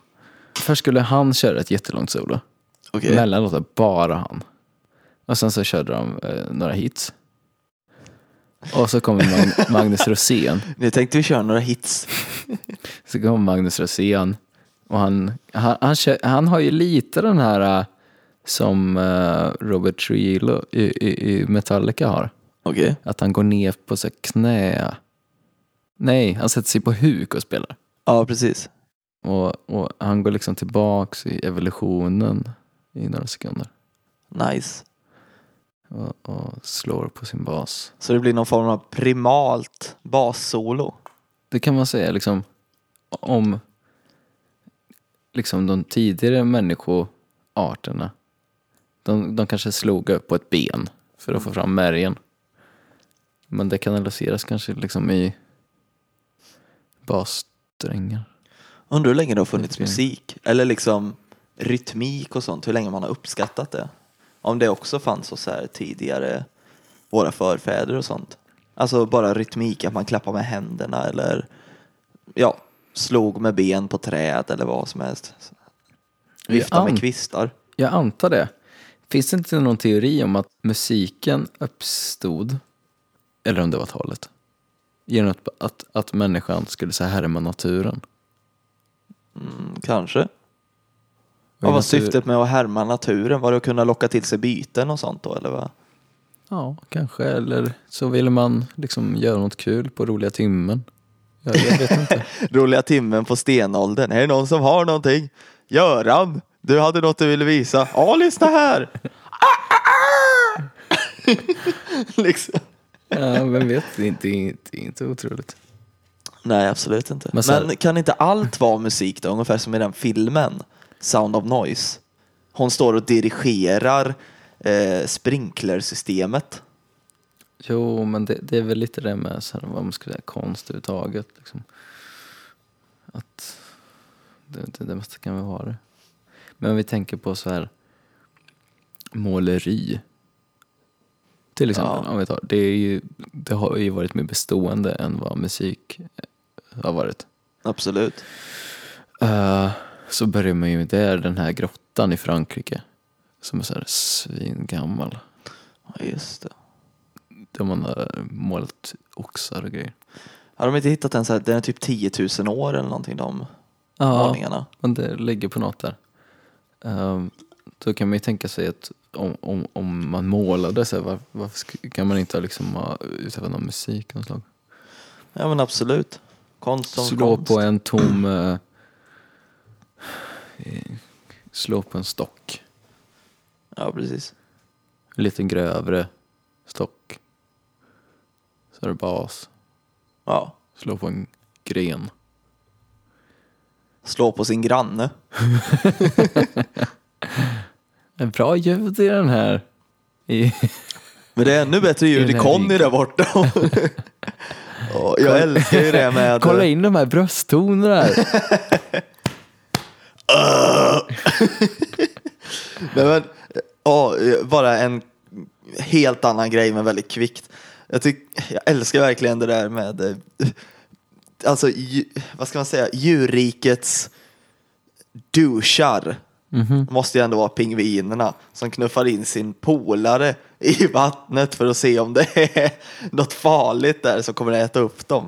Först skulle han köra ett jättelångt solo.
Okej.
Mellan låtar, bara han. Och sen så körde de eh, några hits. Och så kommer Mag- Magnus Rosén.
Nu tänkte vi köra några hits.
Så kom Magnus Rosén. Och han, han, han, kö- han har ju lite den här eh, som eh, Robert Trujillo i, i, i Metallica har.
Okej.
Att han går ner på så här knä. Nej, han sätter sig på huk och spelar.
Ja, precis.
Och, och han går liksom tillbaks i evolutionen i några sekunder.
Nice.
Och, och slår på sin bas.
Så det blir någon form av primalt bassolo.
Det kan man säga liksom om liksom de tidigare människoarterna. De, de kanske slog upp på ett ben för att få fram märgen. Men det kanaliseras kanske liksom i bassträngar.
Undrar hur länge det har funnits
Okej.
musik eller liksom rytmik och sånt, hur länge man har uppskattat det. Om det också fanns hos så här tidigare våra förfäder och sånt. Alltså bara rytmik, att man klappar med händerna eller ja, slog med ben på träet eller vad som helst. Vifta
an-
med kvistar.
Jag antar det. Finns det inte någon teori om att musiken uppstod, eller om det var talet, genom att, att, att människan skulle så här härma naturen?
Mm, kanske.
Och i
Vad var
natur-
syftet med att härma naturen? Var det att kunna locka till sig byten och sånt då eller vad?
Ja, kanske. Eller så ville man liksom göra något kul på roliga timmen. Jag, jag vet inte.
Roliga timmen på stenåldern. Är det någon som har någonting? Göran, du hade något du ville visa. Ja, lyssna här! liksom.
Ja, vem vet, det är inte, inte, inte otroligt.
Nej, absolut inte. Men,
Men så här-
kan inte allt vara musik då? Ungefär som i den filmen, Sound of Noise. Hon står och dirigerar eh, sprinklersystemet.
Jo, men det, det är väl lite det med så här, vad man ska säga, konst överhuvudtaget. Liksom. Att det, det, det mesta kan väl vara det. Men om vi tänker på så här måleri. Till exempel,
Ja.
om vi tar, det, är ju, det har ju varit mer bestående än vad musik eh, har varit.
Absolut.
Eh, så börjar man ju där, den här grottan i Frankrike. Som är så här svingammal.
Ja, just det.
Där man har målat oxar och grejer.
Har de inte hittat den så här, den är typ 10 000 år eller någonting de
Ja,
målningarna?
men det ligger på något där. Um, då kan man ju tänka sig att om, om, om man målade så här, var, varför sk- kan man inte liksom ha utövat någon musik av något slag?
Ja men absolut. Konst som
Slå
konst.
på en tom... eh, eh, slå på en stock.
Ja precis.
En liten grövre stock. Så är det bas.
Ja.
Slå på en gren.
slå på sin granne.
En bra ljud i den här. I,
Men det är ännu bättre
I
ljud
den
i
här
Conny
viken.
där borta. Ja, jag älskar ju det med...
kolla in de här brösttonerna. här.
Äh. Nej, men, eh, ja, bara en helt annan grej men väldigt kvickt. Jag, tyck, jag älskar verkligen det där med, eh, alltså dju- vad ska man säga, djurrikets douchar. Måste ju ändå vara pingvinerna som knuffar in sin polare i vattnet för att se om det är något farligt där som kommer att äta upp dem.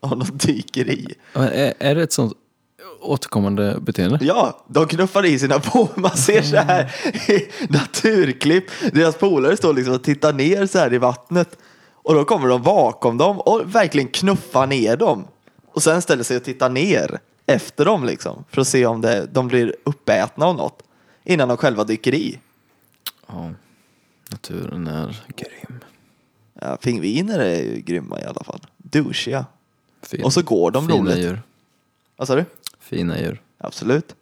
Om de dyker i.
Men är, är det ett sånt återkommande beteende?
Ja, de knuffar i sina poler. Man ser så här i naturklipp. Deras polare står liksom och tittar ner så här i vattnet. Och då kommer de bakom dem och verkligen knuffar ner dem. Och sen ställer sig och tittar ner efter dem liksom. För att se om det, de blir uppätna av något. Innan de själva dyker i.
Ja. Naturen är grym.
Ja, pingviner är ju grymma i alla fall. Douchiga.
Fin,
Och så går de
fina
roligt.
djur.
Vad sa du?
Fina djur.
Absolut.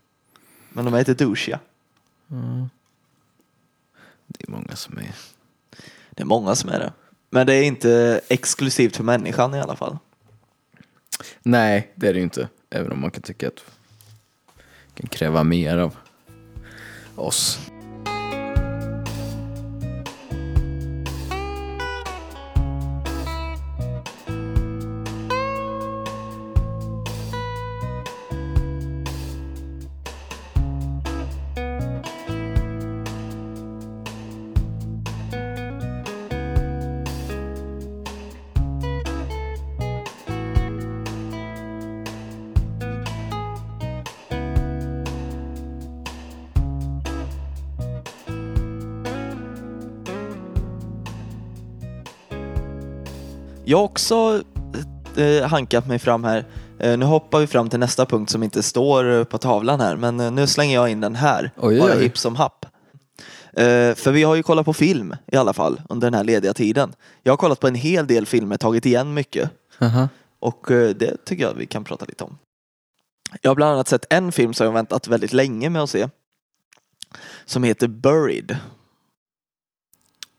Men de är inte douchiga.
Det är många som är...
Det är många som är det. Men det är inte exklusivt för människan i alla fall.
Nej, det är det ju inte. Även om man kan tycka att... Man kan kräva mer av oss.
Jag har också eh, hankat mig fram här. Eh, nu hoppar vi fram till nästa punkt som inte står eh, på tavlan här, men eh, nu slänger jag in den här.
Oj,
Bara
oj.
hipp som happ. Eh, för vi har ju kollat på film i alla fall under den här lediga tiden. Jag har kollat på en hel del filmer, tagit igen mycket.
Aha.
Och eh, det tycker jag vi kan prata lite om. Jag har bland annat sett en film som jag väntat väldigt länge med att se. Som heter Buried.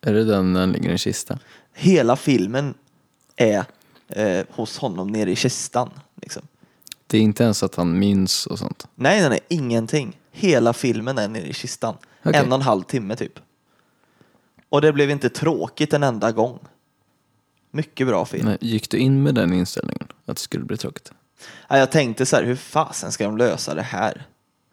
Är det den när han ligger i en kista?
Hela filmen är eh, hos honom nere i kistan. Liksom.
Det är inte ens att han minns och sånt.
Nej, nej, nej, ingenting. Hela filmen är nere i kistan.
Okej.
En och en halv timme typ. Och det blev inte tråkigt en enda gång. Mycket bra film.
Men gick du in med den inställningen? Att det skulle bli tråkigt?
Ja, Jag tänkte så här, hur fasen ska de lösa det här?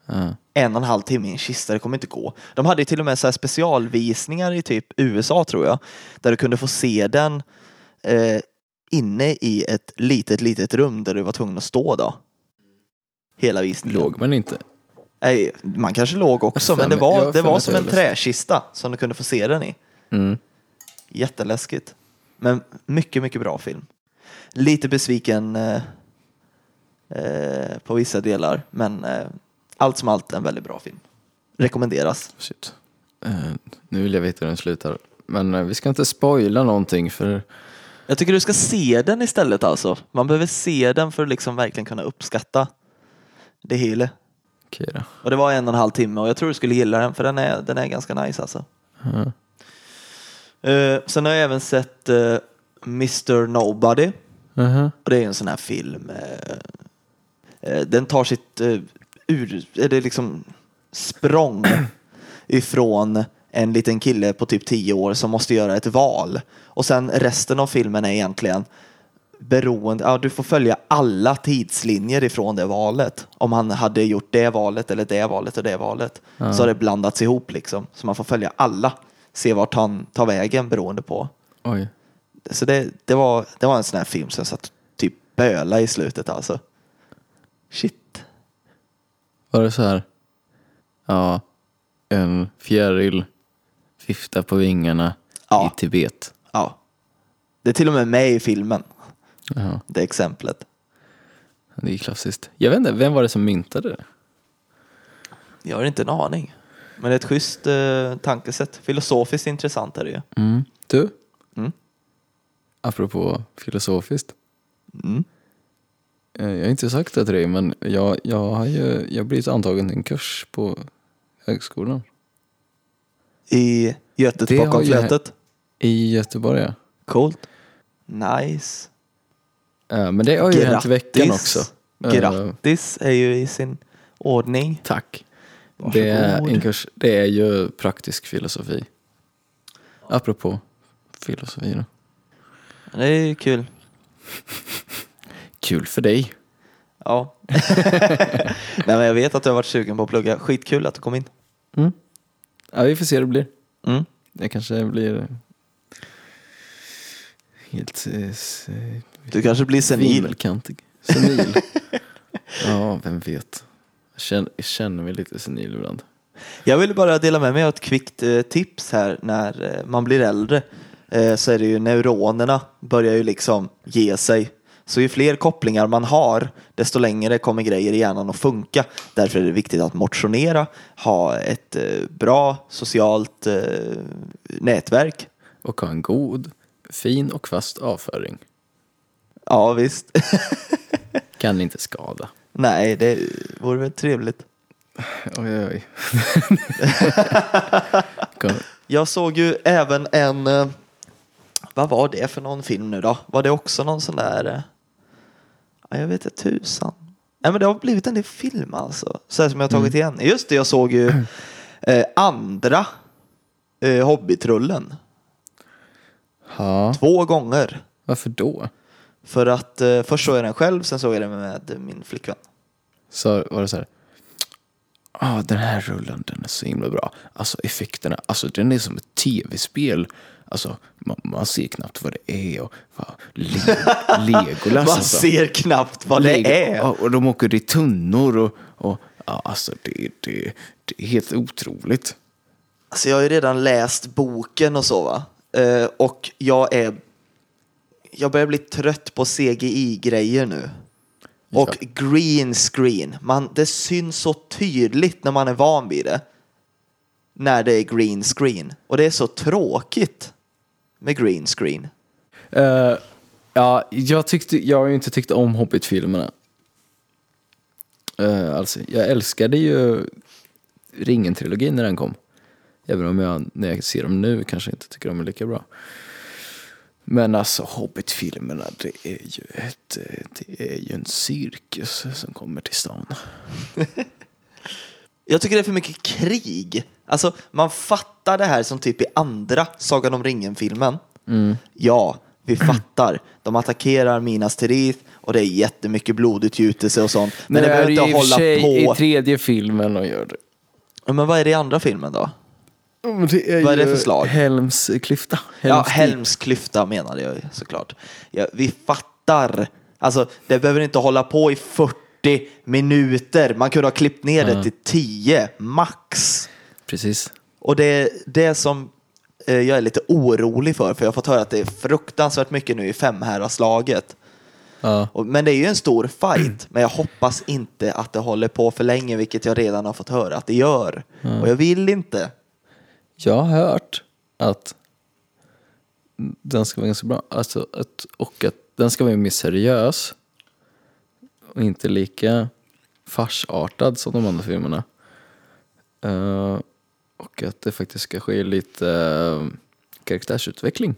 Ja.
en och en halv timme i en kista, det kommer inte gå. De hade ju till och med så här specialvisningar i typ USA tror jag, där du kunde få se den eh, inne i ett litet, litet rum där du var tvungen att stå då. Hela visningen.
Låg man inte?
Nej, man kanske låg också,
Jag har
men det
för mig- jag
var,
har
det
för mig
var
att
som
jag
en
läste.
träkista som du kunde få se den i.
Mm.
Jätteläskigt. Men mycket, mycket bra film. Lite besviken eh, eh, på vissa delar, men eh, allt som allt en väldigt bra film. Rekommenderas.
Shit. Eh, nu vill jag veta hur den slutar. Men eh, vi ska inte spoila någonting för
Jag tycker du ska se den istället alltså. Man behöver se den för att liksom verkligen kunna uppskatta det hela.
Okej då.
Och det var en och en halv timme och jag tror du skulle gilla den för den är, den är ganska nice alltså.
Ja.
Eh, sen har jag även sett eh, Mr Nobody.
Aha.
Och det är en sån här film. Eh, eh, den tar sitt eh, ur, eller liksom språng ifrån en liten kille på typ 10 år som måste göra ett val. Och sen resten av filmen är egentligen beroende, ja, du får följa alla tidslinjer ifrån det valet. Om han hade gjort det valet eller det valet och det valet. Så har det blandats ihop liksom. Så man får följa alla. Se vart han tar vägen beroende på
Oj.
så det, det, var, det var en sån här film som jag satt typ böla i slutet alltså. Shit.
Var det så här? Ja. En fjäril viftar på vingarna
Ja.
i Tibet.
Ja. Det är till och med med i filmen,
Jaha.
det exemplet.
Det är ju klassiskt. Jag vet inte, vem var det som myntade det?
Jag har inte en aning. Men det är ett schysst eh, tankesätt. Filosofiskt intressant är det ju.
Mm. Du?
Mm.
Apropå filosofiskt.
Mm.
Eh, Jag har inte sagt det till dig, men jag, jag har ju jag har blivit antagen till en kurs på högskolan.
I Götet
Det har
bakom
ju-
flötet.
I Göteborg, ja.
Coolt. Nice.
Eh, Men det har ju hänt i veckan också. Eh,
Grattis är ju i sin ordning.
Tack. Det är,
Varsågod.
en kurs, det är ju praktisk filosofi. Apropå filosofi då.
Det är ju kul.
Kul för dig.
Ja. Nej, men jag vet att du har varit sugen på att plugga. Skitkul att du kom in.
Ja, vi får se hur det blir.
Mm.
Det kanske blir helt eh, s- eh,
Du kanske blir senil.
vimmelkantig. Senil. ja, vem vet. Jag känner, jag känner mig lite senil ibland.
Jag vill bara dela med mig av ett kvickt eh, tips här när eh, man blir äldre. Eh, så är det ju neuronerna börjar ju liksom ge sig. Så ju fler kopplingar man har, desto längre kommer grejer i hjärnan att funka. Därför är det viktigt att motionera, ha ett eh, bra socialt eh, nätverk.
Och ha en god, fin och fast avföring.
Ja, visst.
Kan inte skada.
Nej, det vore väl trevligt.
Oj, oj, oj. Kom-
Jag såg ju även en, eh, vad var det för någon film nu då? Var det också någon sån där, eh, ja, jag vet inte tusan. Nej men det har blivit en del film alltså, så här som jag har tagit igen. Just det, jag såg ju eh, andra eh, Hobbitrullen
Ja,
två gånger.
varför då?
För att eh, först såg jag den själv, sen såg jag den med min flickvän.
så var det så här. Ja, den här rullen den är så himla bra. Alltså effekterna, alltså den är som ett tv-spel. Alltså man, man ser knappt vad det är och vad, le, Legolas
Man
alltså.
ser knappt vad det
Lego-
är.
Ja, och de åker i tunnor och, och ja, alltså det, det, det är helt otroligt.
Alltså jag har ju redan läst boken och så va. Eh, och jag är jag börjar bli trött på CGI-grejer nu. Och green screen. Man, det syns så tydligt när man är van vid det. När det är green screen. Och det är så tråkigt med green screen.
Eh, ja, jag, tyckte, jag har ju inte tyckt om Hobbit-filmerna. Eh, alltså, jag älskade ju Ringen-trilogin när den kom. Även om jag, när jag ser dem nu, kanske inte tycker de är lika bra. Men alltså Hobbit-filmerna, det är ju, ett, eh, det är ju en cirkus som kommer till stan.
Jag tycker det är för mycket krig. Alltså, man fattar det här som typ i andra Sagan om ringen-filmen. Ja, vi fattar. De attackerar Minas Tirith och det är jättemycket blodutgjutelse och sånt. Men det
Nu är
behöver inte
det ju i och för
hålla
sig
på.
i tredje filmen och gör det.
Ja, Men vad är det i andra filmen då?
Mm, det
Vad är det
ju
för slag?
Helms klyfta.
Ja,
Helms
Helms klyfta menade jag ju, såklart. Ja, vi fattar. Alltså, det behöver inte hålla på i 40 minuter. Man kunde ha klippt ner det till 10 max.
Precis.
Och det är det som eh, jag är lite orolig för, för jag har fått höra att det är fruktansvärt mycket nu i femherraslaget.
Ja.
Och- Men det är ju en stor fight, men jag hoppas inte att det håller på för länge, vilket jag redan har fått höra att det gör. Och jag vill inte.
Jag har hört att den ska vara ganska bra. Alltså, att, och att den ska vara mer seriös. Och inte lika farsartad som de andra filmerna. Eh, och att det faktiskt ska ske lite eh, karaktärsutveckling.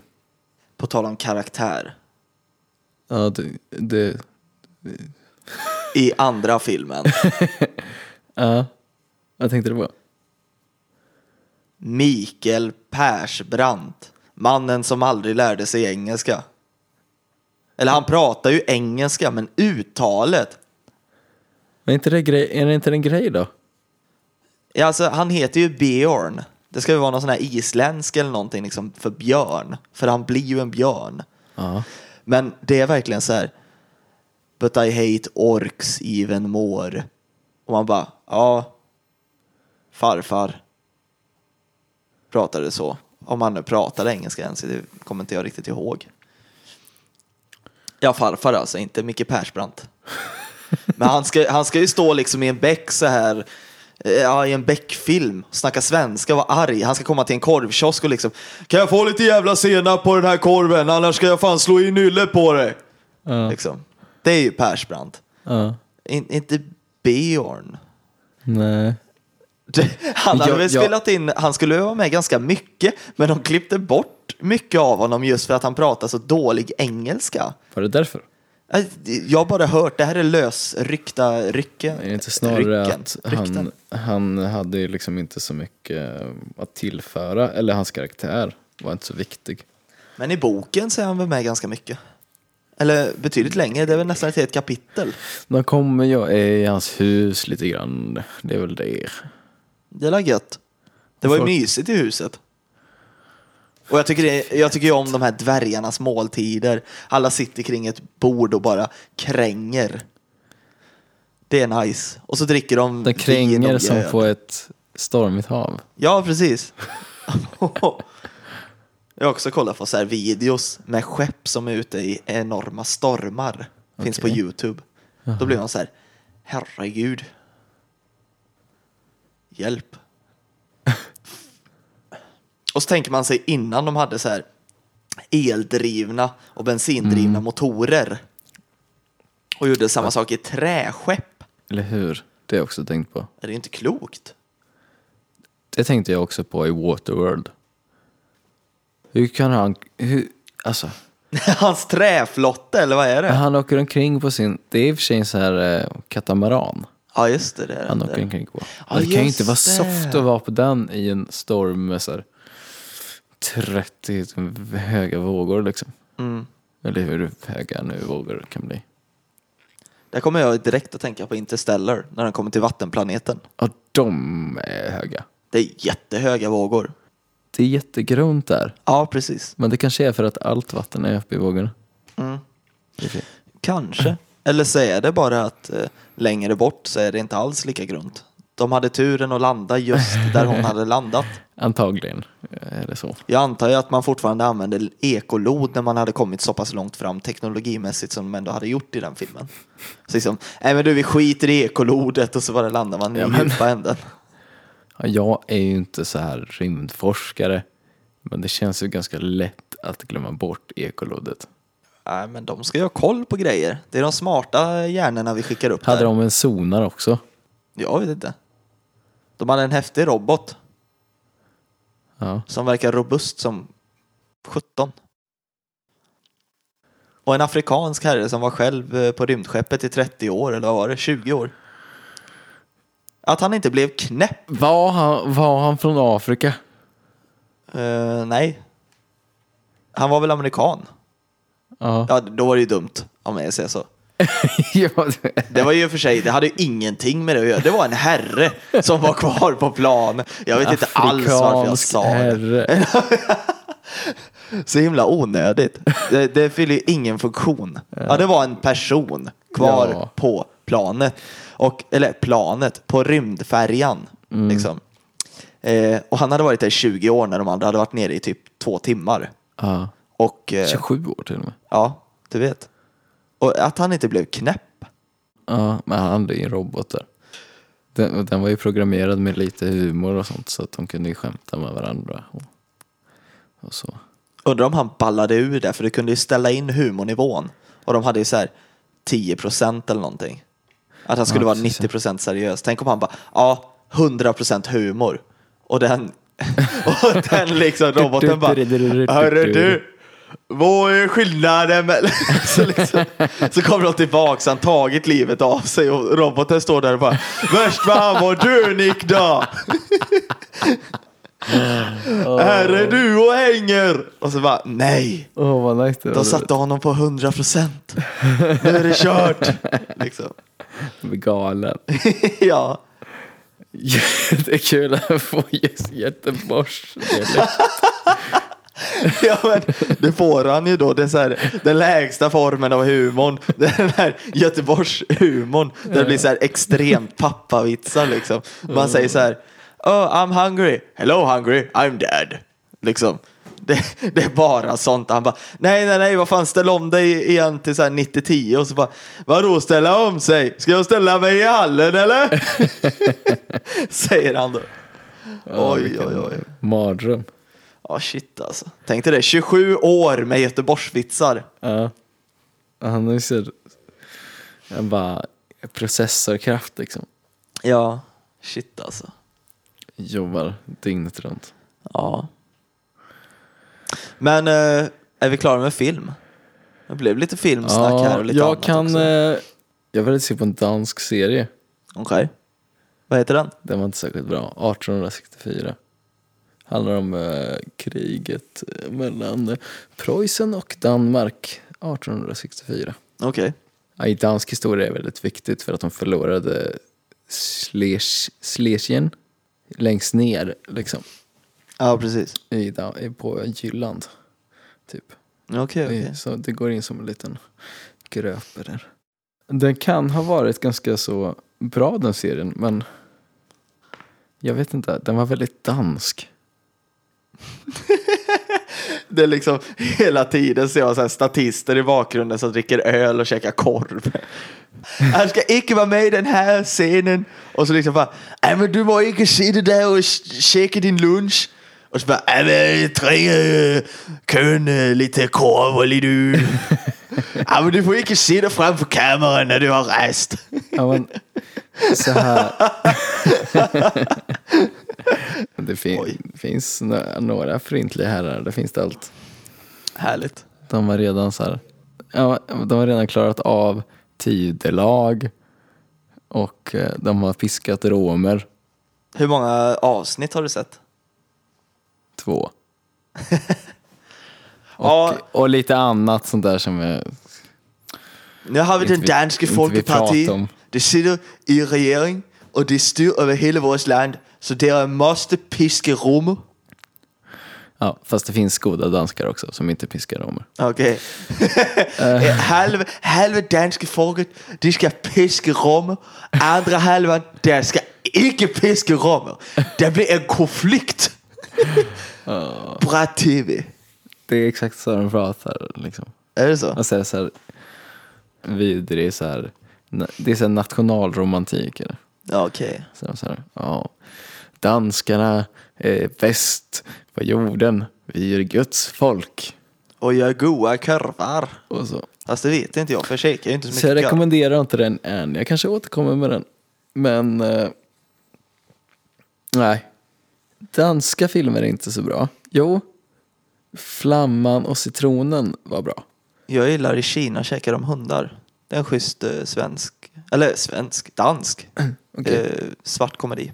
På tal om karaktär,
Ja, det, det,
i andra filmen,
ja. jag tänkte det var.
Mikael Persbrandt, mannen som aldrig lärde sig engelska. Eller han pratar ju engelska, men uttalet
Men är inte det, grej, är det inte en grej då?
Ja, alltså, han heter ju Björn. Det ska ju vara någon sån här isländsk eller någonting liksom för björn. För han blir ju en björn.
Ja.
Men det är verkligen så här. But I hate orks even more. Och man bara, ja. Farfar. Pratade så. Om han nu pratade engelska ens, det kommer inte jag riktigt ihåg. Ja, farfar alltså, inte Micke Persbrandt. Men han ska, han ska ju stå liksom i en bäck så här. eh, Ja, i en bäckfilm. Snacka svenska, vara arg. Han ska komma till en korvkiosk och liksom. Kan jag få lite jävla senap på den här korven? Annars ska jag fan slå in nyllet på dig.
Ja.
Liksom. Det är ju Persbrandt.
Ja.
In, inte Björn.
Nej.
Det- Han hade
Jag-
väl
jag-
spelat in, han skulle ju vara med ganska mycket, men de klippte bort mycket av honom just för att han pratar så dålig engelska.
Var det därför?
Äh, Jag har bara hört, det här är lösryckta rycken.
Är det inte snarare
rycken,
att
rykten.
han, han hade ju liksom inte så mycket eh, att tillföra, eller hans karaktär var inte så viktig.
Men i boken så är han väl med ganska mycket. Eller betydligt längre, det är väl nästan ett helt kapitel.
De kommer jag är i hans hus lite grann, det är väl det.
Det är la gött. Det var ju
Folk-
mysigt i huset. Och jag tycker, det, jag tycker ju om de här dvärgarnas måltider. Alla sitter kring ett bord och bara kränger. Det är nice. Och så dricker de
De
vin
kränger
och
som
mjöl.
på ett stormigt hav.
Ja, precis. jag har också kollat på så här videos med skepp som är ute i enorma stormar. Finns på
Okej.
YouTube. Då blir man så här, herregud. Hjälp. och så tänker man sig innan de hade så här eldrivna och bensindrivna motorer. Och gjorde samma sak i träskepp.
Eller hur? Det har jag också tänkt på.
Det är ju inte klokt.
Det tänkte jag också på i Waterworld. Hur kan han... Hur, alltså,
Hans träflotte, eller vad är det?
han åker omkring på sin... Det är i och för sig en sån här eh, katamaran.
Ja just det, det är den
han
där.
åker omkring på.
Ja,
det kan ju
just
inte vara
det.
soft att vara på den i en storm med så här 30 höga vågor liksom.
Mm.
Eller hur höga nu vågor kan bli.
Där kommer jag direkt att tänka på Interstellar när den kommer till vattenplaneten.
Ja, de är höga.
Det är jättehöga vågor.
Det är jättegrunt där.
Ja, precis.
Men det kanske är för att allt vatten är uppe i vågorna.
Mm.
I och för sig.
Kanske. Eller så är det bara att eh, längre bort så är det inte alls lika grunt. de hade turen att landa just där hon hade landat.
Antagligen. Eller så.
Jag antar ju att man fortfarande använde ekolod när man hade kommit så pass långt fram teknologimässigt som de ändå hade gjort i den filmen. Så liksom, nej men du vi skiter i ekolodet och så bara landar man i
Ja,
ja,
men-
djupa änden.
Ja, Jag är ju inte så här rymdforskare, men det känns ju ganska lätt att glömma bort ekolodet.
Nej men de ska ju ha koll på grejer. Det är de smarta hjärnorna vi skickar upp
Hade
där.
de en sonar också?
Jag vet inte. De hade en häftig robot
Ja.
som verkar robust som 17. Och en afrikansk herre som var själv eh, på rymdskeppet i 30 år, eller vad var det, 20 år. Att han inte blev knäpp
Var, han, var han från Afrika?
Eh, nej. Han var väl amerikan?
Ja.
Ja, då var det ju dumt om jag säger så.
ja, det-
Det var ju för sig, det hade ju ingenting med det att göra. Det var en herre som var kvar på plan. Jag vet inte alls varför jag
Afrikansk
sa det.
herre.
Så himla onödigt. Det, det fyller ju ingen funktion. Ja, det var en person kvar
Ja.
på planet. Och, eller planet, på rymdfärjan.
Mm.
Liksom. Eh, och han hade varit där i 20 år när de andra hade varit nere i typ två timmar.
Ja.
Och, eh,
27 år till och med.
Ja, du vet. Och att han inte blev knäpp.
Ja, men han är ju en robot där. Den, och den var ju programmerad med lite humor och sånt så att de kunde ju skämta med varandra. Och, och så.
Undrar om han ballade ur det, för du kunde ju ställa in humornivån. Och de hade ju så här 10 procent eller någonting. Att han skulle
Ja,
vara
precis,
90 procent seriös. Tänk om han bara, ja, 100 procent humor. Och den, och den liksom roboten bara, hörru du, vad är skillnaden mellan... så, liksom, så kommer de tillbaka, så han tagit livet av sig och roboten står där och bara, värst vad han var du Nick då? Här är du och hänger! Och så bara, nej!
Åh, vad nice det
De satte honom på 100 procent. Nu är det kört! Liksom.
var. Galen.
Ja.
Jättekul att få just Göteborgs
ja, men det får han ju då. Det är så här, den lägsta formen av humorn. Det är Den här Göteborgs-humorn. Där det blir så här extremt pappavitsar liksom. Man säger så här, oh, I'm hungry. Hello hungry, I'm dead. Liksom. Det, det är bara sånt. Han bara, nej, nej, nej, vad fan, ställ om dig igen till så här 90-10 och så bara, vadå ställa om sig? Ska jag ställa mig i hallen eller? Säger han då. Oj, oj, oj.
Mardröm.
Ja, shit alltså. Tänk dig det, 27 år med Göteborgsvitsar.
Ja. Han är ju så... Han bara processorkraft liksom.
Ja. Shit alltså.
Jobbar dygnet runt.
Ja. Men eh, är vi klara med film? Det blev lite filmsnack här och lite
jag
annat
kan...
också.
Eh, jag vill se på en dansk serie.
Okej. Vad heter den?
Den var inte särskilt bra. 1864. Handlar om eh, kriget eh, mellan eh, Preussen och Danmark 1864.
Okej.
Ja, I dansk historia är det väldigt viktigt för att de förlorade Schles- Schlesien längst ner liksom,
Ja, precis.
i, Dan- i- på Jylland. Typ.
Okej, okej.
Så det går in som en liten gröp där. Den kan ha varit ganska så bra den serien, men jag vet inte, den var väldigt dansk.
Det är liksom hela tiden ser jag så här statister i bakgrunden som dricker öl och käkar korv. Han ska icke vara med i den här scenen. Och så liksom bara, nej men du må inte sitta där och ch- käka din lunch. Och så bara, nej men jag tränger eh, kön eh, lite korv och lite öl. Ja men du får inte sitta framför kameran när du har rest.
Ja, men, så här. det
Oj.
fin- finns nö- några frintliga herrar, det finns det allt.
Härligt.
De har redan så här, ja, de har redan klarat av tidelag och eh, de har fiskat romer,
Hur många avsnitt har du sett?
två. Och,
Ja.
och lite annat sånt där som är...
Nu har vi
Inte
den
vi-
danske
inte vi
folkeparti.
pratar om.
Det sitter i regering och det styr över hela vårt land. Så det måste piska rum.
Ja, fast det finns goda danskar också som inte piskar romer.
Okej. halva, halva danska folket, de ska piska rum. Andra halvan, där ska icke-finske romer. Det blir en konflikt. Bra TV.
Det är exakt så de pratar liksom.
Är det så?
Alltså det är så här vidrig så här. na- Det är så här nationalromantik eller?
Ja, Okej.
Så de så här, ja. Danskarna är bäst på jorden. Vi är Guds folk.
Och gör goa kurvar.
Och så.
Fast det vet inte jag, för jag kikar ju inte så mycket
Så jag
kurv.
rekommenderar inte den än. Jag kanske återkommer med den. Men... Eh, nej. Danska filmer är inte så bra. Jo. Flamman och citronen var bra.
Jag gillar i Kina käkar de hundar. Det är en schysst eh, svensk, eller svensk, dansk
Okej.
eh, svart komedi.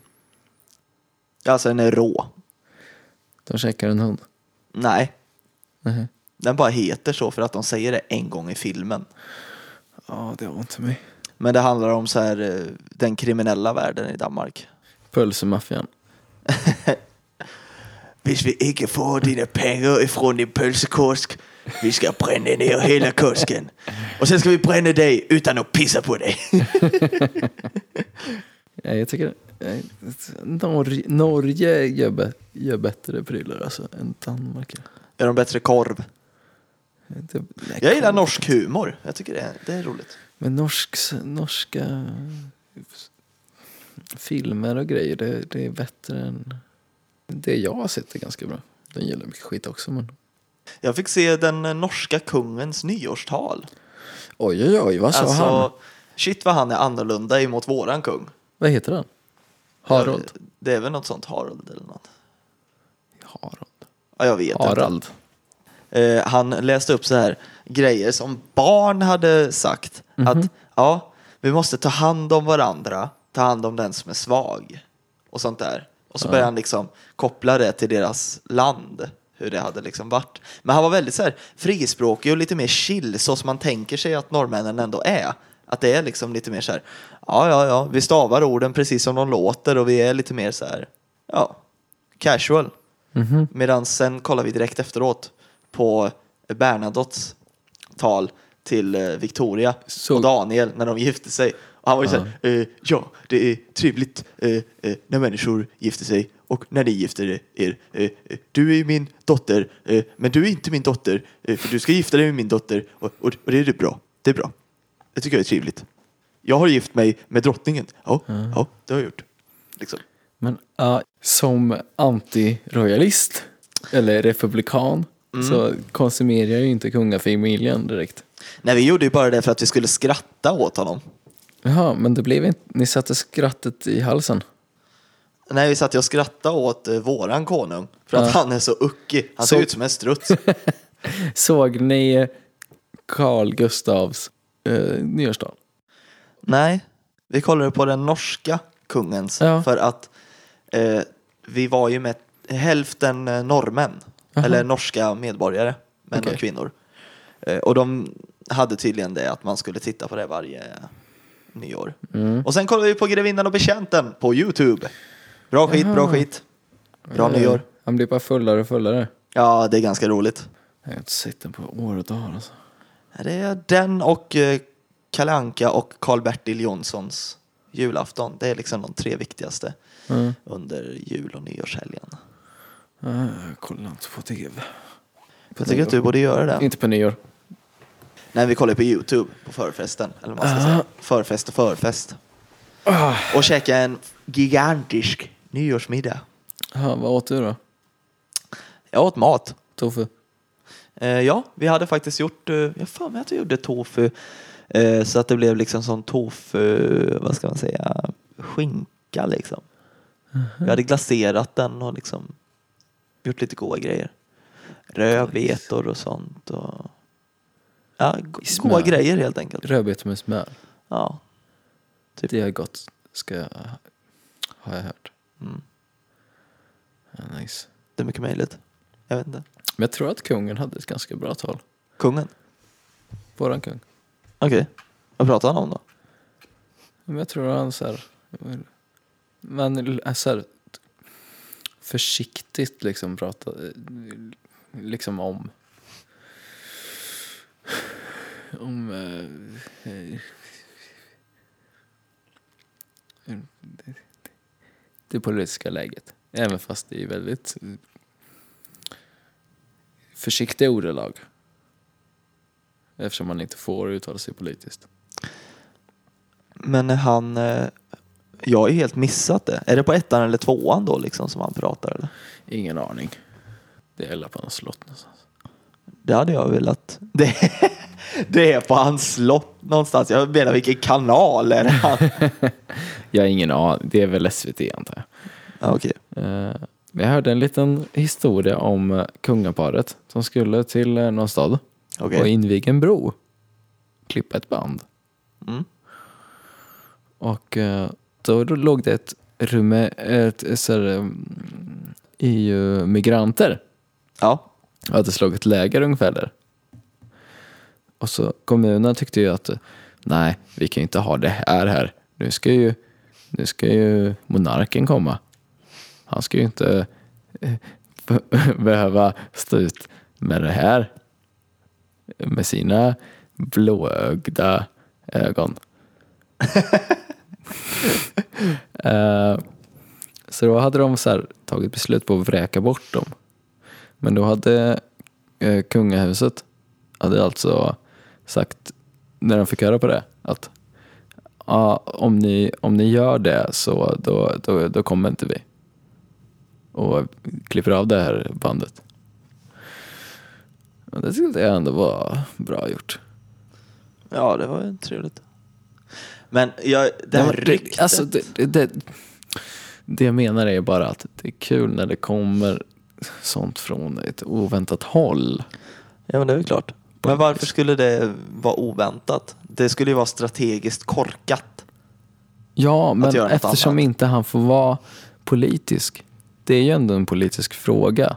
Alltså den är rå.
De käkar en hund.
Nej,
Nej.
den bara heter så för att de säger det en gång i filmen.
Ja, det var inte mig.
Men det handlar om så här, eh, den kriminella världen i Danmark.
Pölsemaffian.
Hvis vi inte får dina pengar ifrån din pölsekiosk, vi ska bränna ner hela kiosken. Och sen ska vi bränna dig utan att pissa på dig.
Ja, jag tycker... eh, Norge, Norge gör, bä- gör bättre prylar alltså, än Danmark.
Är de bättre korv?
Det, nej,
Jag gillar norsk humor. Jag tycker det är, det är roligt.
Men norsk, norska filmer och grejer, det, det är bättre än... Det jag har sett är ganska bra. Den gillar mycket skit också, men...
Jag fick se den eh, norska kungens nyårstal. Alltså,
Oj, oj, oj, vad sa han?
shit vad han är annorlunda emot våran kung.
Vad heter han? Harold?
Ja, Det är väl något sånt Harold eller något.
Harold?
Ja, jag vet inte.
Harald?
Eh, han läste upp så här grejer som barn hade sagt. Att ja, vi måste ta hand om varandra, ta hand om den som är svag och sånt där. Och så började han liksom koppla det till deras land, hur det hade liksom varit. Men han var väldigt så här frispråkig och lite mer chill, så som man tänker sig att norrmännen ändå är. Att det är liksom lite mer så här, ja, ja, ja, vi stavar orden precis som de låter och vi är lite mer så här, ja, casual. Medan sen kollar vi direkt efteråt på Bernadottes tal till eh, Victoria
Så-
och Daniel när de gifte sig. Och han var ju såhär, eh, ja det är trevligt eh, eh, när människor gifter sig och när ni gifter er. Eh, eh, du är ju min dotter, eh, men du är inte min dotter, eh, för du ska gifta dig med min dotter och, och, och det är det bra. Det är bra. Det tycker jag är trevligt. Jag har gift mig med drottningen. Ja, ja det har jag gjort. Liksom.
Men ja, som antiroyalist, eller republikan, så konsumerar jag ju inte kungafamiljen direkt.
Nej, vi gjorde ju bara det för att vi skulle skratta åt honom.
Jaha, men det blev inte... Ni satte skrattet i halsen?
Nej, vi satt ju och skrattade åt eh, våran konung för att han är så uckig. Han
Så-
ser ut som en struts.
Såg ni eh, Carl Gustavs eh, nyårsdag?
Nej, vi kollade på den norska kungens
Ja.
för att eh, vi var ju med hälften eh, norrmän, eller norska medborgare, män
Okej.
och kvinnor. Eh, och de hade tydligen det att man skulle titta på det varje nyår. Och sen kollade vi på Grevinnan och betjänten på YouTube. Bra skit, bra skit. Bra
Eh,
nyår.
Han blir bara fullare och fullare.
Ja, det är ganska roligt.
Jag har inte sett den på år och dagar alltså.
Det är den och eh, Kalle Anka och Karl-Bertil Jonssons julafton. Det är liksom de tre viktigaste
Mm.
under jul och nyårshelgen.
Eh, jag kollar inte på tv. På
Jag tycker att du borde göra det.
Inte på nyår.
Nej, vi kollar på YouTube på förfesten. Eller vad man ska säga. Förfest och förfest. Och käka en gigantisk nyårsmiddag.
Jaha, vad åt du då?
Jag åt mat.
Tofu?
Eh, ja, vi hade faktiskt gjort, eh, jag har för mig att vi gjorde tofu. Eh, så att det blev liksom som tofu, vad ska man säga, skinka liksom.
Mhm.
Vi hade glaserat den och liksom gjort lite goda grejer. Rödbetor och sånt. Och, ja, go-
I smör.
goda grejer helt enkelt.
Rödbetor med smör.
Ja. Typ.
Det är gott, ska jag, har jag hört.
Mm.
Ja, nice.
Det är mycket möjligt. Jag vet inte.
Men jag tror att kungen hade ett ganska bra tal.
Kungen?
Våran kung.
Okej. Vad pratar han om då?
Men jag tror han så här... Men äh, så här, försiktigt liksom pratade liksom om om eh, eh,
det politiska läget. Även fast det är väldigt eh, försiktiga ordalag. Eftersom man inte får uttala sig politiskt.
Men han, eh, jag har ju helt missat det. Är det på ettan eller tvåan då liksom som han pratar eller?
Ingen aning. Det är alla på något slott någonstans.
Det hade jag velat. Det, det är på hans slott någonstans. Jag menar vilken kanal är det han?
Jag har ingen aning. Det är väl SVT antar jag.
Ja, Okej.
Eh, men jag hörde en liten historia om eh, kungaparet som skulle till eh, någon stad
Okej.
och inviga en bro. Klippa ett band.
Mm.
Och eh, då, då låg det ett rum ett, ett, så här, mm, EU migranter.
Ja.
Jag hade slagit läger ungefär där. Och så kommunen tyckte ju att nej, vi kan ju inte ha det här här. Nu ska ju, nu ska ju monarken komma. Han ska ju inte eh, behöva stå ut med det här. Med sina blåögda ögon. Eh, så då hade de så här, tagit beslut på att vräka bort dem. Men då hade eh, kungahuset hade alltså sagt, när de fick höra på det, att "Ja, om, ni, om ni gör det så då, då, då kommer inte vi och klipper av det här bandet. Och det tyckte jag ändå var bra gjort.
Ja, det var ju trevligt. Men jag, det här
var-
ryktet.
Alltså, det, det, det, det jag menar är bara att det är kul när det kommer sånt från ett oväntat håll.
Ja, men det är väl klart. Men varför skulle det vara oväntat? Det skulle ju vara strategiskt korkat.
Ja, men
göra något
eftersom
annat.
inte han får vara politisk. Det är ju ändå en politisk fråga.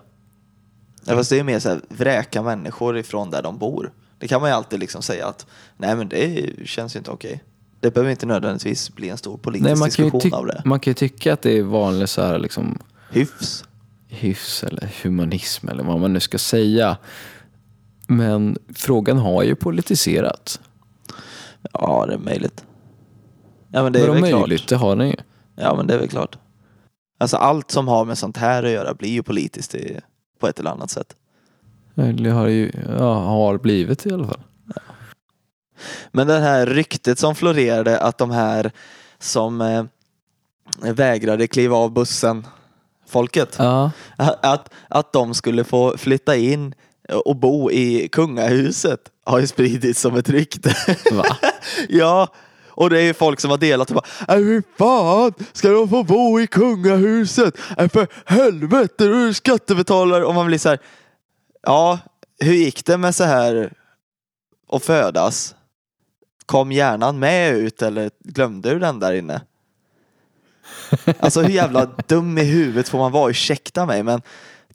Ja, fast det är mer så här, vräka människor ifrån där de bor. Det kan man ju alltid liksom säga att nej, men det känns ju inte okej. Det behöver inte nödvändigtvis bli en stor politisk
Nej, man, kan ju
diskussion
tyck-
av det.
man kan ju tycka att det är vanlig så här, liksom,
Hyfs.
hyfs eller humanism eller vad man nu ska säga. Men frågan har ju politiserats.
Ja, det är möjligt. Ja, men det är väl
Vadå möjligt?
klart.
Det har den ju.
Ja, men det är väl klart. Alltså allt som har med sånt här att göra blir ju politiskt i, på ett eller annat sätt.
Eller har ju ja, har blivit i alla fall.
Men det här ryktet som florerade att de här som eh, vägrade kliva av bussen, folket,
Ja,
att, att de skulle få flytta in och bo i kungahuset har ju spridits som ett rykte.
va?
Ja, och det är ju folk som har delat och bara "Äh, hur fan ska de få bo i kungahuset? Äh, för helvete, du är skattebetalare. Och man blir så här, ja, hur gick det med så här och födas? Kom hjärnan med ut eller glömde du den där inne? Alltså hur jävla dum i huvudet får man vara, ursäkta mig, men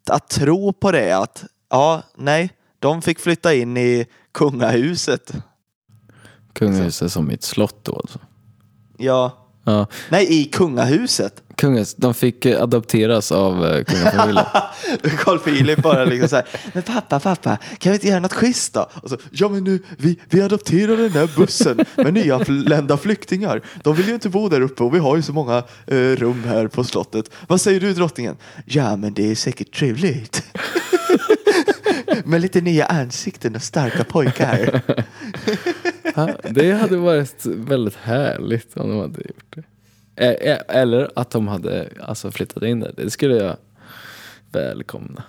att tro på det att ja, nej, de fick flytta in i kungahuset.
Kungahuset som ett slott då. Alltså.
Ja,
Ja,
Nej, i kungahuset.
kungas, de fick eh, adopteras av eh, kungafamiljen.
Carl Philip bara liksom så här, men pappa, pappa, kan vi inte göra något schysst då? Och så, ja men nu, vi, vi adopterar den här bussen med nyanlända flyktingar. De vill ju inte bo där uppe och vi har ju så många eh, rum här på slottet. Vad säger du drottningen? Ja men det är säkert trevligt. med lite nya ansikten och starka pojkar.
Ja, Det hade varit väldigt härligt om de hade gjort det. E- e- Eller att de hade alltså, flyttat in där. Det skulle jag välkomna.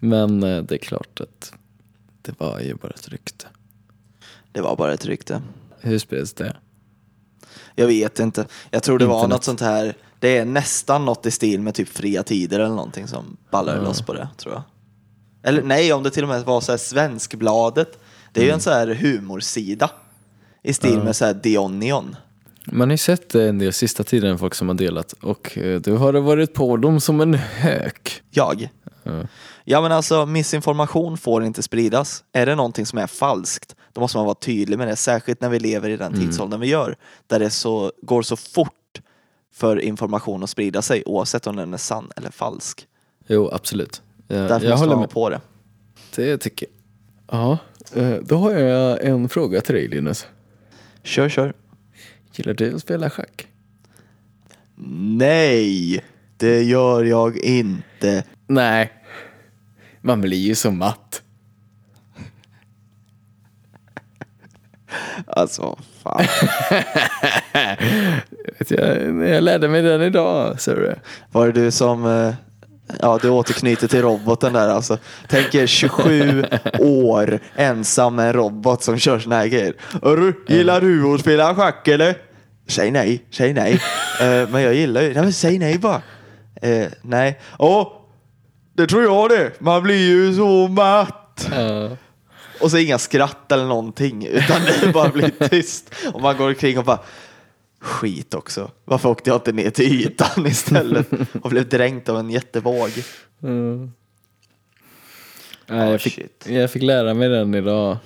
Men eh, det är klart att det var ju bara ett rykte.
Det var bara ett rykte.
Hur spreds det?
Jag vet inte. Jag tror det var
Internet.
något sånt här. Det är nästan något i stil med typ fria tider eller någonting som ballar loss på det, tror jag. Eller nej, om det till och med var så här Svenskbladet. Det är ju en så här humorsida i stil med så här Dionion.
Man har ju sett eh, en del sista tiden folk som har delat och eh, du har det varit på dem som en hök.
Jag. Ja men alltså missinformation får inte spridas. Är det någonting som är falskt, då måste man vara tydlig med det. Särskilt när vi lever i den tidsåldern vi gör, där det så, går så fort för information att sprida sig, oavsett om den är sann eller falsk.
Jo, absolut. Jag,
Därför
Eh, jag
måste
håller
man vara
med.
på det.
Det tycker jag. Ja, eh, då har jag en fråga till dig Linus.
Kör, kör.
Gillar du att spela schack?
Nej, det gör jag inte.
Nej. Man blir ju så matt.
Alltså, fan.
Vet jag, jag lärde mig den idag, ser du.
Var det du som... eh, Ja, du återknyter till roboten där alltså. Tänk er 27 år ensam med en robot som kör såna här grejer. Hörru, gillar du att spela schack eller? Säg nej, säg nej. Eh, men jag gillar ju... Nej, men säg nej bara. Eh, nej. Åh, det tror jag det. Man blir ju så matt. Och så inga skratt eller någonting, utan det bara blir tyst. Och man går omkring och bara, skit också. Varför åkte jag inte ner till ytan istället? Och blev dränkt av en jättevåg.
Nej,
Ah,
jag, fick,
shit.
jag fick lära mig den idag.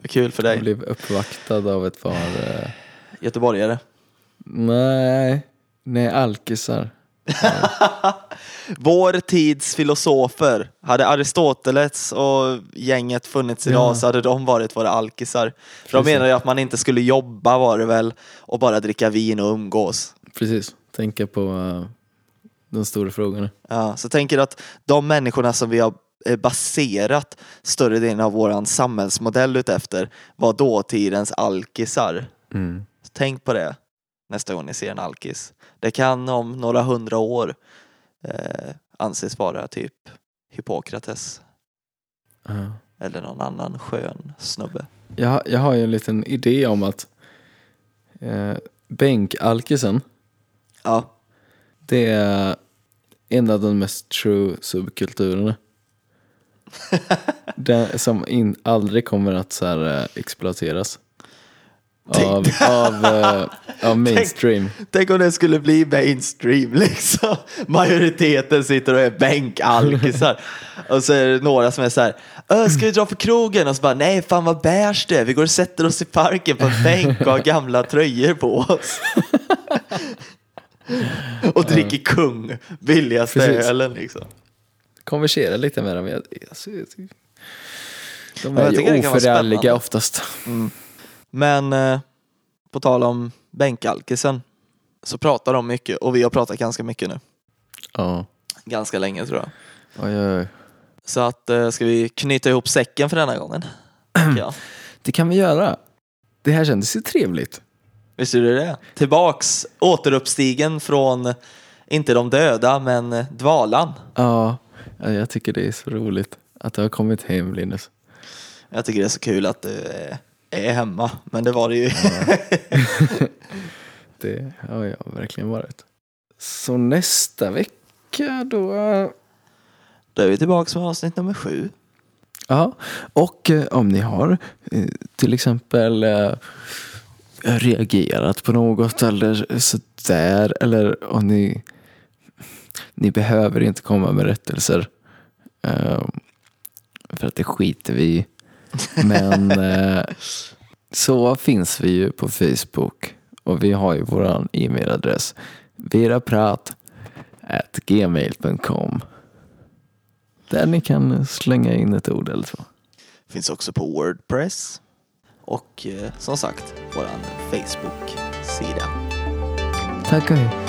Vad Kul för
Jag
dig,
blev uppvaktad av ett par... Eh,
göteborgare.
nej, nej, alkisar.
Vår tids filosofer. Hade Aristoteles och gänget funnits idag
Ja.
så hade de varit våra alkisar. För de
Precis.
menade ju att man inte skulle jobba var det väl, och bara dricka vin och umgås.
Precis, tänka på eh, de stora frågorna.
Ja, så tänker du att de människorna som vi har eh, baserat större delen av vår samhällsmodell utefter var dåtidens alkisar.
Mm.
Så tänk på det nästa gång ni ser en alkis. Det kan om några hundra år eh, anses vara typ Hippokrates
Ja.
eller någon annan skön snubbe.
Jag, jag har ju en liten idé om att eh, bänkalkisen,
Ja,
det är en av de mest true subkulturerna. Den som in, aldrig kommer att så här, eh, exploateras. Av, av, eh, av mainstream.
tänk om det skulle bli mainstream liksom. Majoriteten sitter och är bänkalkisar. och så är det några som är så här, "Ö, ska vi dra på krogen? Och så bara, nej fan vad bärs det är. Vi går och sätter oss i parken på en bänk och har gamla tröjor på oss. och dricker kung, billigaste
Precis.
ölen liksom.
Konversera lite med dem. Jag, alltså, jag, tycker- de
Ja, jag
är
tycker
ju
det kan vara spännande. Mm.
oförärliga oftast.
Men eh, på tal om bänkalkisen så pratar de mycket och vi har pratat ganska mycket nu.
Ja.
Ganska länge tror jag.
Oj, oj, oj.
Så att eh, ska vi knyta ihop säcken för denna gången? tycker jag.
Det kan vi göra. Det här kändes ju trevligt.
Visst gjorde det det? Tillbaks, återuppstigen från, inte de döda, men eh, dvalan.
Ja, ja, jag tycker det är så roligt att du har kommit hem Linus.
Jag tycker det är så kul att du eh, är hemma, men det var det ju.
Det har jag verkligen varit. Så nästa vecka då... eh,
Då är vi tillbaks med avsnitt nummer sju.
Ja, och eh, om ni har eh, till exempel eh, reagerat på något eller sådär eller om ni... Ni behöver inte komma med rättelser. eh, För att det skiter vi i. Men eh, så finns vi ju på Facebook och vi har ju vår e-mailadress veraprat@gmail.com där ni kan slänga in ett ord eller två.
Finns också på Wordpress. Och eh, som sagt, vår Facebook-sida.
Tack och hej.